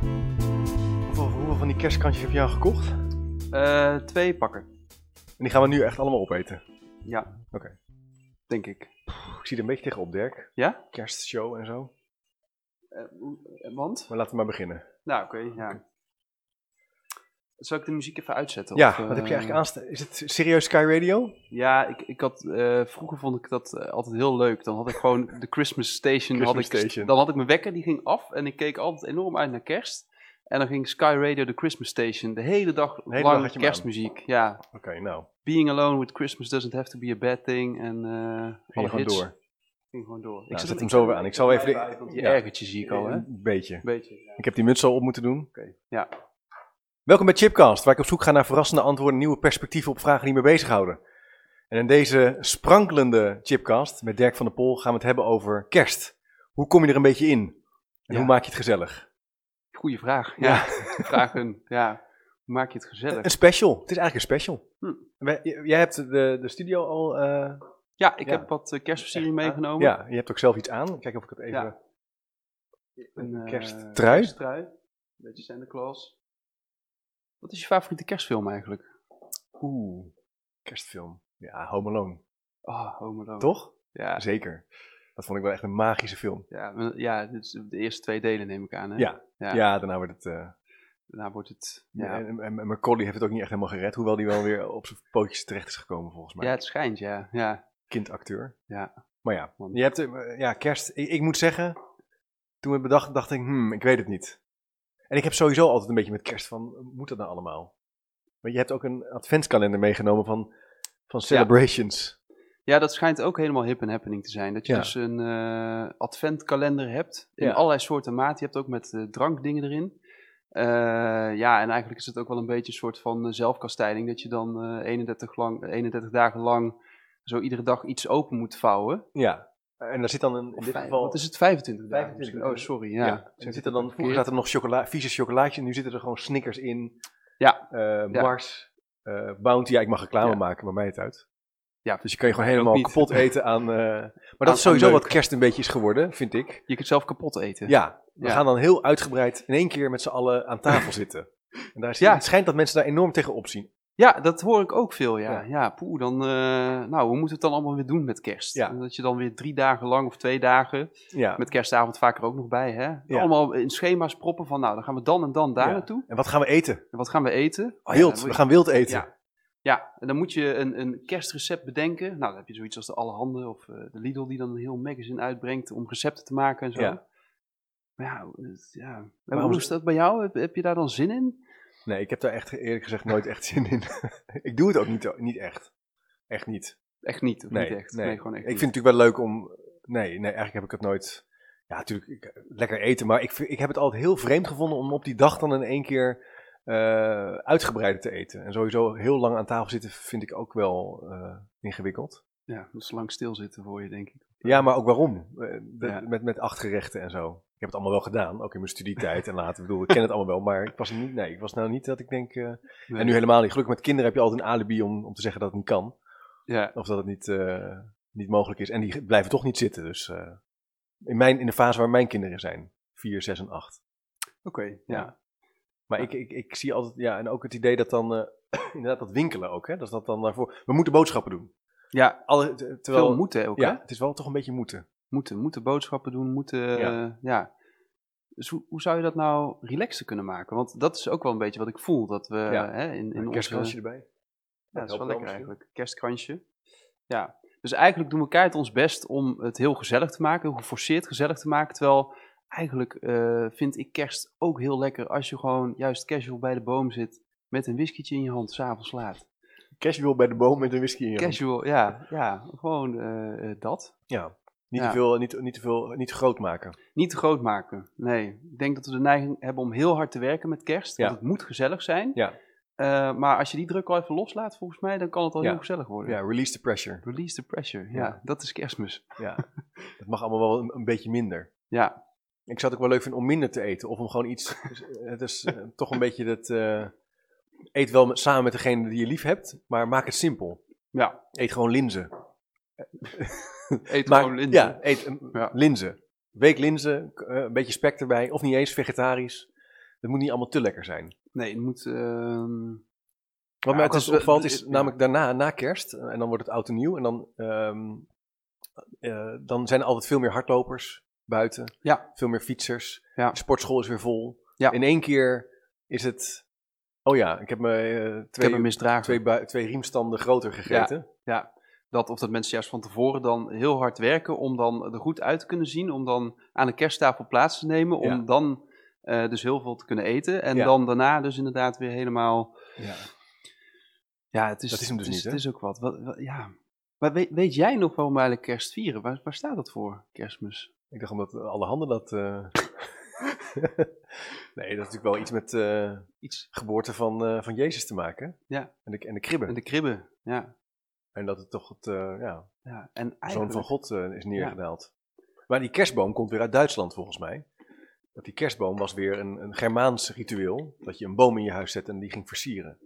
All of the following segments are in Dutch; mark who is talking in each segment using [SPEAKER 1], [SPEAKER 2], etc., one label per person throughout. [SPEAKER 1] Hoeveel, hoeveel van die kerstkantjes heb je al gekocht? En
[SPEAKER 2] Eh, twee pakken.
[SPEAKER 1] die gaan we nu echt allemaal opeten.
[SPEAKER 2] Ja.
[SPEAKER 1] Oké.
[SPEAKER 2] Denk ik.
[SPEAKER 1] Ik zie er een beetje tegenop, Dirk.
[SPEAKER 2] Ja?
[SPEAKER 1] Kerstshow en zo.
[SPEAKER 2] Eh, hoe- eh, want?
[SPEAKER 1] Maar laten we maar beginnen.
[SPEAKER 2] Nou, oké, ja. Zal ik de muziek even uitzetten?
[SPEAKER 1] ja,
[SPEAKER 2] Of, eh,
[SPEAKER 1] wat heb je eigenlijk aanstaan? Is het serieus Sky Radio?
[SPEAKER 2] Ja, ik, ik had, eh, vroeger vond ik dat eh, altijd heel leuk. Dan had ik gewoon de Christmas Station.
[SPEAKER 1] Christmas
[SPEAKER 2] had ik,
[SPEAKER 1] Station.
[SPEAKER 2] Dan had ik mijn wekker, die ging af. En ik keek altijd enorm uit naar kerst. En dan ging Sky Radio de Christmas Station. De hele dag
[SPEAKER 1] hele dag
[SPEAKER 2] lang
[SPEAKER 1] had je hem
[SPEAKER 2] kerstmuziek. Ja.
[SPEAKER 1] Oké, nou.
[SPEAKER 2] Being alone with Christmas doesn't have to be a bad thing. En eh
[SPEAKER 1] Ging
[SPEAKER 2] alle
[SPEAKER 1] je gewoon
[SPEAKER 2] hits.
[SPEAKER 1] door. Nou,
[SPEAKER 2] Ging gewoon door.
[SPEAKER 1] zet hem zo weer aan. Ik zal even de-
[SPEAKER 2] Je
[SPEAKER 1] ja. Eh,
[SPEAKER 2] ergertje zie ik al, hè?
[SPEAKER 1] Een beetje.
[SPEAKER 2] Beetje.
[SPEAKER 1] Ik heb die muts al op moeten doen.
[SPEAKER 2] Ja.
[SPEAKER 1] Welkom bij Chipcast, waar ik op zoek ga naar verrassende antwoorden, nieuwe perspectieven op vragen die me bezighouden. En in deze sprankelende Chipcast met Dirk van der Pol gaan we het hebben over kerst. Hoe kom je er een beetje in? En
[SPEAKER 2] Ja.
[SPEAKER 1] hoe maak je het gezellig?
[SPEAKER 2] Goeie vraag. Ja. Vragen. Ja. Hoe maak je het
[SPEAKER 1] Een
[SPEAKER 2] gezellig?
[SPEAKER 1] special. Het is eigenlijk een special.
[SPEAKER 2] Hm.
[SPEAKER 1] Wij- j- jij hebt de, de studio al... eh,
[SPEAKER 2] Ja, ik
[SPEAKER 1] Ja.
[SPEAKER 2] heb wat eh, kerstversiering
[SPEAKER 1] Echt, hè?
[SPEAKER 2] meegenomen.
[SPEAKER 1] ja, je hebt ook zelf iets aan. Kijk of ik het even...
[SPEAKER 2] Ja. Een eh,
[SPEAKER 1] kersttrui?
[SPEAKER 2] kersttrui. Een beetje Santa Claus. Wat is je favoriete kerstfilm eigenlijk?
[SPEAKER 1] Oeh, kerstfilm. Ja, Home Alone.
[SPEAKER 2] Oh, Home Alone.
[SPEAKER 1] Toch?
[SPEAKER 2] Ja,
[SPEAKER 1] Zeker. Dat vond ik wel echt een magische film.
[SPEAKER 2] ja, we- ja dit is de eerste twee delen neem ik aan. Hè?
[SPEAKER 1] Ja. Ja,
[SPEAKER 2] Ja.
[SPEAKER 1] daarna werd het... eh,
[SPEAKER 2] Daarna wordt het... Ja,
[SPEAKER 1] En, en, en Macaulay heeft het ook niet echt helemaal gered. Hoewel die wel weer op zijn pootjes terecht is gekomen volgens mij.
[SPEAKER 2] ja het schijnt, ja. ja.
[SPEAKER 1] Kindacteur.
[SPEAKER 2] Ja.
[SPEAKER 1] Maar ja,
[SPEAKER 2] Man.
[SPEAKER 1] je hebt, eh, ja kerst. Ik, ik moet zeggen, toen we het bedachten dacht ik, hmm, ik weet het niet. En ik heb sowieso altijd een beetje met kerst van, moet dat nou allemaal? Maar je hebt ook een adventskalender meegenomen van, van celebrations.
[SPEAKER 2] Ja, dat schijnt ook helemaal hip en happening te zijn. Dat je
[SPEAKER 1] Ja.
[SPEAKER 2] dus een eh, adventkalender hebt. In
[SPEAKER 1] Ja.
[SPEAKER 2] allerlei soorten maten. Je hebt ook met eh, drankdingen erin. Eh, ja, en eigenlijk is het ook wel een beetje een soort van eh, zelfkastijding. Dat je dan eh, 31, lang, 31 dagen lang zo iedere dag iets open moet vouwen.
[SPEAKER 1] Ja. En daar zit dan een, in
[SPEAKER 2] Of
[SPEAKER 1] dit
[SPEAKER 2] vijf-
[SPEAKER 1] geval...
[SPEAKER 2] wat is het? 25 dagen
[SPEAKER 1] 25
[SPEAKER 2] misschien? Oh, sorry.
[SPEAKER 1] ja.
[SPEAKER 2] Ja. ja.
[SPEAKER 1] En er zitten dan, vroeger zaten er nog chocola, vieze chocolaatjes en nu zitten er gewoon snickers in.
[SPEAKER 2] Ja.
[SPEAKER 1] Eh,
[SPEAKER 2] Ja.
[SPEAKER 1] Mars, eh, Bounty. Ja, ik mag reclame
[SPEAKER 2] Ja.
[SPEAKER 1] maken, maar mij het uit.
[SPEAKER 2] Ja,
[SPEAKER 1] Dus je kan je gewoon helemaal
[SPEAKER 2] niet.
[SPEAKER 1] kapot eten aan... eh, maar dat
[SPEAKER 2] Aan-
[SPEAKER 1] is sowieso
[SPEAKER 2] aan
[SPEAKER 1] wat
[SPEAKER 2] leuk.
[SPEAKER 1] kerst een beetje is geworden, vind ik.
[SPEAKER 2] Je kunt zelf kapot eten.
[SPEAKER 1] Ja, we
[SPEAKER 2] Ja.
[SPEAKER 1] gaan dan heel uitgebreid in één keer met z'n allen aan tafel zitten. En daar is,
[SPEAKER 2] Ja.
[SPEAKER 1] Het schijnt dat mensen daar enorm tegen opzien.
[SPEAKER 2] Ja, dat hoor ik ook veel, ja.
[SPEAKER 1] Ja.
[SPEAKER 2] Ja, poeh, dan... eh, nou, hoe moeten we het dan allemaal weer doen met kerst?
[SPEAKER 1] Ja.
[SPEAKER 2] Dat je dan weer drie dagen lang of twee dagen...
[SPEAKER 1] Ja.
[SPEAKER 2] Met kerstavond vaak er ook nog bij, hè?
[SPEAKER 1] Ja.
[SPEAKER 2] Allemaal in schema's proppen van, nou, dan gaan we dan en dan daar
[SPEAKER 1] Ja. Oh,
[SPEAKER 2] naartoe.
[SPEAKER 1] En wat gaan we eten?
[SPEAKER 2] En wat gaan we eten?
[SPEAKER 1] Wild.
[SPEAKER 2] Ja,
[SPEAKER 1] We gaan wild eten.
[SPEAKER 2] Ja. Ja, en dan moet je een, een kerstrecept bedenken. Nou, dan heb je zoiets als de Allerhande of eh, de Lidl die dan een heel magazine uitbrengt om recepten te maken en zo.
[SPEAKER 1] Ja.
[SPEAKER 2] Maar ja, het- ja. En
[SPEAKER 1] Waarom-
[SPEAKER 2] hoe is dat bij jou? Heb, heb je daar dan zin in?
[SPEAKER 1] Nee, ik heb daar echt eerlijk gezegd nooit echt zin in. ik doe het ook niet, niet echt. Echt niet.
[SPEAKER 2] Echt niet, of
[SPEAKER 1] Nee,
[SPEAKER 2] niet echt?
[SPEAKER 1] nee.
[SPEAKER 2] gewoon echt
[SPEAKER 1] Ik vind het natuurlijk wel leuk om. Nee, nee, eigenlijk heb ik het nooit. Ja, natuurlijk ik- lekker eten, maar ik, vind- ik heb het altijd heel vreemd gevonden om op die dag dan in één keer eh uitgebreider te eten. En sowieso heel lang aan tafel zitten vind ik ook wel eh, ingewikkeld.
[SPEAKER 2] niet. Ja, dat is lang stilzitten voor je, denk ik.
[SPEAKER 1] Ja, maar ook waarom? Eh, de-
[SPEAKER 2] Ja.
[SPEAKER 1] met, met acht gerechten en zo. Ik heb het allemaal wel gedaan, ook in mijn studietijd en later. Ik bedoel, ik ken het allemaal wel, maar ik was, niet, nee, ik was nou niet dat ik denk... eh, En nu helemaal niet. Gelukkig met kinderen heb je altijd een alibi om, om te zeggen dat het niet kan.
[SPEAKER 2] Ja,
[SPEAKER 1] Of dat het niet, eh, niet mogelijk is. En die blijven toch niet zitten. Dus eh, in, mijn, in de fase waar mijn kinderen zijn. 4, 6 en 8.
[SPEAKER 2] oké,
[SPEAKER 1] Ja.
[SPEAKER 2] ja.
[SPEAKER 1] Maar
[SPEAKER 2] Ja.
[SPEAKER 1] ik, ik, ik zie altijd, ja, en ook het idee dat dan, eh, inderdaad dat winkelen ook, hè. Dat is dat dan daarvoor, we moeten boodschappen doen.
[SPEAKER 2] Ja,
[SPEAKER 1] Alle, te- terwijl,
[SPEAKER 2] veel moeten ook, hè?
[SPEAKER 1] Ja, het is wel toch een beetje moeten.
[SPEAKER 2] moeten, moeten boodschappen doen, moeten.
[SPEAKER 1] Ja.
[SPEAKER 2] Ja. ja. Dus hoe, hoe zou je dat nou relaxer kunnen maken? Want dat is ook wel een beetje wat ik voel. Dat we
[SPEAKER 1] Ja.
[SPEAKER 2] hè, in, in
[SPEAKER 1] Een kerstkransje
[SPEAKER 2] onze.
[SPEAKER 1] erbij.
[SPEAKER 2] Ja,
[SPEAKER 1] helpt
[SPEAKER 2] dat is
[SPEAKER 1] wel
[SPEAKER 2] wel lekker
[SPEAKER 1] misschien.
[SPEAKER 2] eigenlijk. Kerstkransje. Ja. Dus eigenlijk doen we keihard ons best om het heel gezellig te maken, heel geforceerd gezellig te maken. Terwijl eigenlijk eh, vind ik kerst ook heel lekker als je gewoon juist casual bij de boom zit met een whiskietje in je hand s'avonds laat.
[SPEAKER 1] Casual bij de boom met een whisky in je hand.
[SPEAKER 2] Casual, ja, ja gewoon eh, eh, dat.
[SPEAKER 1] Ja. Niet,
[SPEAKER 2] Ja.
[SPEAKER 1] te veel, niet, niet, te veel, niet te groot maken.
[SPEAKER 2] Niet te groot maken. Nee. Ik denk dat we de neiging hebben om heel hard te werken met kerst.
[SPEAKER 1] Ja.
[SPEAKER 2] Want het moet gezellig zijn.
[SPEAKER 1] Ja.
[SPEAKER 2] Eh, maar als je die druk al even loslaat, volgens mij, dan kan het al
[SPEAKER 1] Ja.
[SPEAKER 2] heel gezellig worden.
[SPEAKER 1] Ja, release the pressure.
[SPEAKER 2] Release the pressure. Ja,
[SPEAKER 1] Ja.
[SPEAKER 2] dat is kerstmis.
[SPEAKER 1] Ja. dat mag allemaal wel een, een beetje minder.
[SPEAKER 2] Ja.
[SPEAKER 1] Ik zou het ook wel leuk vinden om minder te eten. Of om gewoon iets... Het is eh, toch een beetje dat... eh, eet wel met- samen met degene die je lief hebt, maar maak het simpel.
[SPEAKER 2] Ja.
[SPEAKER 1] Eet gewoon linzen.
[SPEAKER 2] Eet
[SPEAKER 1] Maar-
[SPEAKER 2] gewoon linzen.
[SPEAKER 1] Ja, eet een-
[SPEAKER 2] Ja.
[SPEAKER 1] linzen. Week linzen, k- eh, een beetje spek erbij. Of niet eens, vegetarisch. Dat moet niet allemaal te lekker zijn.
[SPEAKER 2] Nee, het moet... ehm,
[SPEAKER 1] Wat
[SPEAKER 2] Ja,
[SPEAKER 1] mij
[SPEAKER 2] ook
[SPEAKER 1] het is
[SPEAKER 2] als we-
[SPEAKER 1] opvalt
[SPEAKER 2] de-
[SPEAKER 1] is
[SPEAKER 2] eh, ja.
[SPEAKER 1] namelijk daarna, na kerst, eh, en dan wordt het oud en nieuw, en dan, ehm, eh, dan zijn er altijd veel meer hardlopers buiten,
[SPEAKER 2] Ja.
[SPEAKER 1] veel meer fietsers,
[SPEAKER 2] Ja.
[SPEAKER 1] de sportschool is weer vol.
[SPEAKER 2] Ja.
[SPEAKER 1] In één keer is het, oh ja, ik heb me eh,
[SPEAKER 2] ik heb
[SPEAKER 1] twee,
[SPEAKER 2] een misdrager.
[SPEAKER 1] twee, bui- twee riemstanden groter gegeten.
[SPEAKER 2] Ja, dat, of dat mensen juist van tevoren dan heel hard werken om dan er goed uit te kunnen zien, om dan aan de kersttafel plaats te nemen, om
[SPEAKER 1] Ja.
[SPEAKER 2] dan eh, dus heel veel te kunnen eten. En
[SPEAKER 1] Ja.
[SPEAKER 2] dan daarna dus inderdaad weer helemaal...
[SPEAKER 1] Ja.
[SPEAKER 2] Ja, het is,
[SPEAKER 1] Dat is hem dus
[SPEAKER 2] het
[SPEAKER 1] niet, hè?
[SPEAKER 2] Het is ook wat. Wat- wat- ja. Maar weet, weet jij nog waarom we eigenlijk kerst vieren? Waar, waar staat dat voor, kerstmis?
[SPEAKER 1] Ik dacht omdat alle handen dat... eh, nee, dat is natuurlijk wel iets met eh,
[SPEAKER 2] Iets
[SPEAKER 1] geboorte van, eh, van Jezus te maken.
[SPEAKER 2] Ja.
[SPEAKER 1] En de, en de kribben.
[SPEAKER 2] in de kribben, ja.
[SPEAKER 1] En dat het toch het, eh, ja,
[SPEAKER 2] ja. En
[SPEAKER 1] Zoon van
[SPEAKER 2] eigenlijk,
[SPEAKER 1] God eh, is neergedaald. Maar die kerstboom komt weer uit Duitsland volgens mij. Want die kerstboom was weer een, een Germaans ritueel. Dat je een boom in je huis zet en die ging versieren.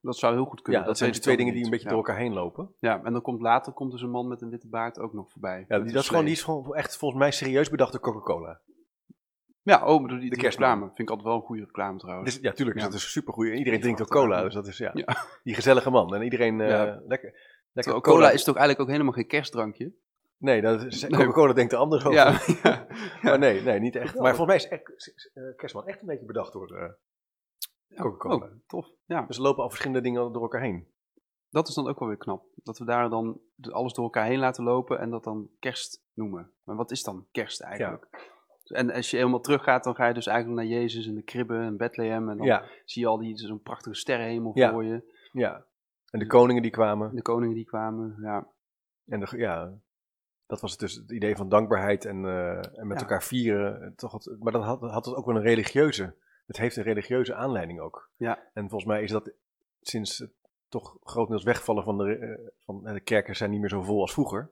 [SPEAKER 2] dat zou heel goed
[SPEAKER 1] Ja,
[SPEAKER 2] kunnen.
[SPEAKER 1] dat,
[SPEAKER 2] weet
[SPEAKER 1] zijn dus
[SPEAKER 2] ik
[SPEAKER 1] twee
[SPEAKER 2] dan
[SPEAKER 1] dingen die een
[SPEAKER 2] niet.
[SPEAKER 1] beetje
[SPEAKER 2] ja.
[SPEAKER 1] door elkaar heen lopen.
[SPEAKER 2] Ja, en dan komt later komt dus een man met een witte baard ook nog
[SPEAKER 1] Ja,
[SPEAKER 2] voorbij. Met
[SPEAKER 1] die,
[SPEAKER 2] een
[SPEAKER 1] dat is gewoon, die
[SPEAKER 2] slee.
[SPEAKER 1] is gewoon echt volgens mij serieus bedacht door Coca-Cola.
[SPEAKER 2] Ja, oh, bedoel, die, de
[SPEAKER 1] kerstman.
[SPEAKER 2] reclame. Vind ik altijd wel een goede reclame trouwens.
[SPEAKER 1] Dus, ja, tuurlijk,
[SPEAKER 2] Ja.
[SPEAKER 1] dat is supergoed. En Iedereen
[SPEAKER 2] Ja,
[SPEAKER 1] drinkt ook
[SPEAKER 2] dat-
[SPEAKER 1] cola, dus dat is ja,
[SPEAKER 2] Ja.
[SPEAKER 1] die gezellige man. En iedereen eh,
[SPEAKER 2] Ja.
[SPEAKER 1] lekker. lekker
[SPEAKER 2] Terwijl cola, is toch eigenlijk ook helemaal geen kerstdrankje?
[SPEAKER 1] Nee, dat is,
[SPEAKER 2] Nee.
[SPEAKER 1] Coca-Cola denkt er anders over.
[SPEAKER 2] Ja, ja.
[SPEAKER 1] Maar nee, nee, niet echt. Maar volgens mij is echt, eh, kerstman echt een beetje bedacht door eh, Coca-Cola.
[SPEAKER 2] Oh, tof. Ja,
[SPEAKER 1] Dus er lopen al verschillende dingen door elkaar heen.
[SPEAKER 2] dat is dan ook wel weer knap. Dat we daar dan de- alles door elkaar heen laten lopen en dat dan kerst noemen. Maar wat is dan kerst eigenlijk? En als je helemaal teruggaat, dan ga je dus eigenlijk naar Jezus en de kribben en Bethlehem. En dan
[SPEAKER 1] Ja,
[SPEAKER 2] zie je al die zo'n prachtige sterrenhemel
[SPEAKER 1] Ja.
[SPEAKER 2] voor je.
[SPEAKER 1] ja. En de koningen die kwamen.
[SPEAKER 2] De koningen die kwamen. Ja,
[SPEAKER 1] En de, ja, dat was het dus het idee van dankbaarheid en, eh, en met
[SPEAKER 2] Ja.
[SPEAKER 1] elkaar vieren. Eh, Toch het, maar dat had, had het ook wel een religieuze. Het heeft een religieuze aanleiding ook.
[SPEAKER 2] Ja.
[SPEAKER 1] En volgens mij is dat sinds het toch grotendeels wegvallen van de, eh, van eh, de kerken zijn niet meer zo vol als vroeger.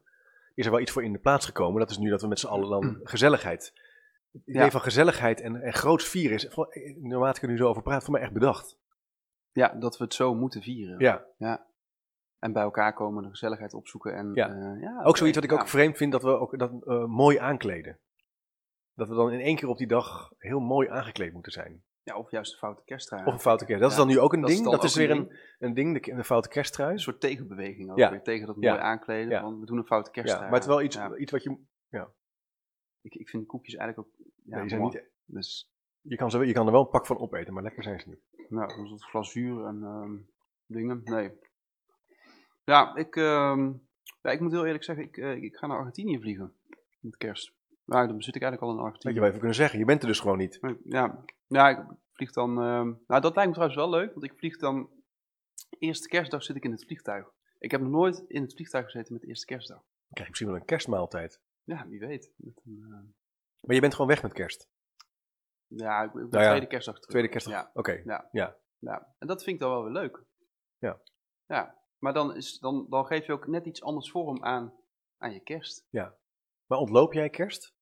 [SPEAKER 1] Is er wel iets voor in de plaats gekomen. Dat is nu dat we met z'n allen dan gezelligheid. Het idee
[SPEAKER 2] Ja.
[SPEAKER 1] van gezelligheid en, en groots vieren is, vol- eh, naarmate ik er nu zo over praat, voor mij echt bedacht.
[SPEAKER 2] ja dat we het zo moeten vieren.
[SPEAKER 1] Ja.
[SPEAKER 2] En bij elkaar komen, de gezelligheid opzoeken. En,
[SPEAKER 1] Ja.
[SPEAKER 2] eh, ja
[SPEAKER 1] Ook zoiets wat ik
[SPEAKER 2] ja.
[SPEAKER 1] ook vreemd vind, dat we ook dat, eh, mooi aankleden. Dat we dan in één keer op die dag heel mooi aangekleed moeten zijn.
[SPEAKER 2] Ja, of juist de foute kerstdraai.
[SPEAKER 1] Of een foute kerst. Dat is
[SPEAKER 2] Ja,
[SPEAKER 1] dan nu ook een
[SPEAKER 2] dat is
[SPEAKER 1] ding.
[SPEAKER 2] dan
[SPEAKER 1] dat is
[SPEAKER 2] ook een
[SPEAKER 1] weer een, een ding, de, de foute kersttrui.
[SPEAKER 2] een soort tegenbeweging ook
[SPEAKER 1] Ja.
[SPEAKER 2] weer tegen dat
[SPEAKER 1] Ja.
[SPEAKER 2] mooi aankleden.
[SPEAKER 1] Ja.
[SPEAKER 2] Van, we doen een foute kerst.
[SPEAKER 1] ja, maar het is wel iets,
[SPEAKER 2] Ja,
[SPEAKER 1] iets wat je...
[SPEAKER 2] ik, ik vind koekjes eigenlijk ook. Ja,
[SPEAKER 1] nee, die zijn
[SPEAKER 2] mooi.
[SPEAKER 1] niet,
[SPEAKER 2] Dus
[SPEAKER 1] je, kan ze, je kan er wel een pak van opeten, maar lekker zijn ze niet.
[SPEAKER 2] nou, een soort glazuur en ehm, dingen. Nee. Ja ik, ehm, ja, ik moet heel eerlijk zeggen, ik, eh, ik ga naar Argentinië vliegen met kerst. Nou, dan zit ik eigenlijk al in
[SPEAKER 1] Dat
[SPEAKER 2] Argentinië.
[SPEAKER 1] je wel even kunnen zeggen. Je bent er dus gewoon niet.
[SPEAKER 2] Maar ik- Ja, ja, ik vlieg dan. ehm, nou, dat lijkt me trouwens wel leuk, want ik vlieg dan. Eerste kerstdag zit ik in het vliegtuig. Ik heb nog nooit in het vliegtuig gezeten met de eerste kerstdag.
[SPEAKER 1] Dan krijg je misschien wel een kerstmaaltijd.
[SPEAKER 2] Ja, wie weet. Met een, eh,
[SPEAKER 1] Maar je bent gewoon weg met kerst.
[SPEAKER 2] Ja, ik ben
[SPEAKER 1] Nou ja,
[SPEAKER 2] tweede kerstdag terug.
[SPEAKER 1] Tweede kerstdag.
[SPEAKER 2] Ja,
[SPEAKER 1] Oké.
[SPEAKER 2] ja. En dat vind ik dan wel weer leuk.
[SPEAKER 1] Ja.
[SPEAKER 2] Ja, maar dan, is, dan, dan geef je ook net iets anders vorm aan, aan je kerst.
[SPEAKER 1] Maar ontloop jij kerst?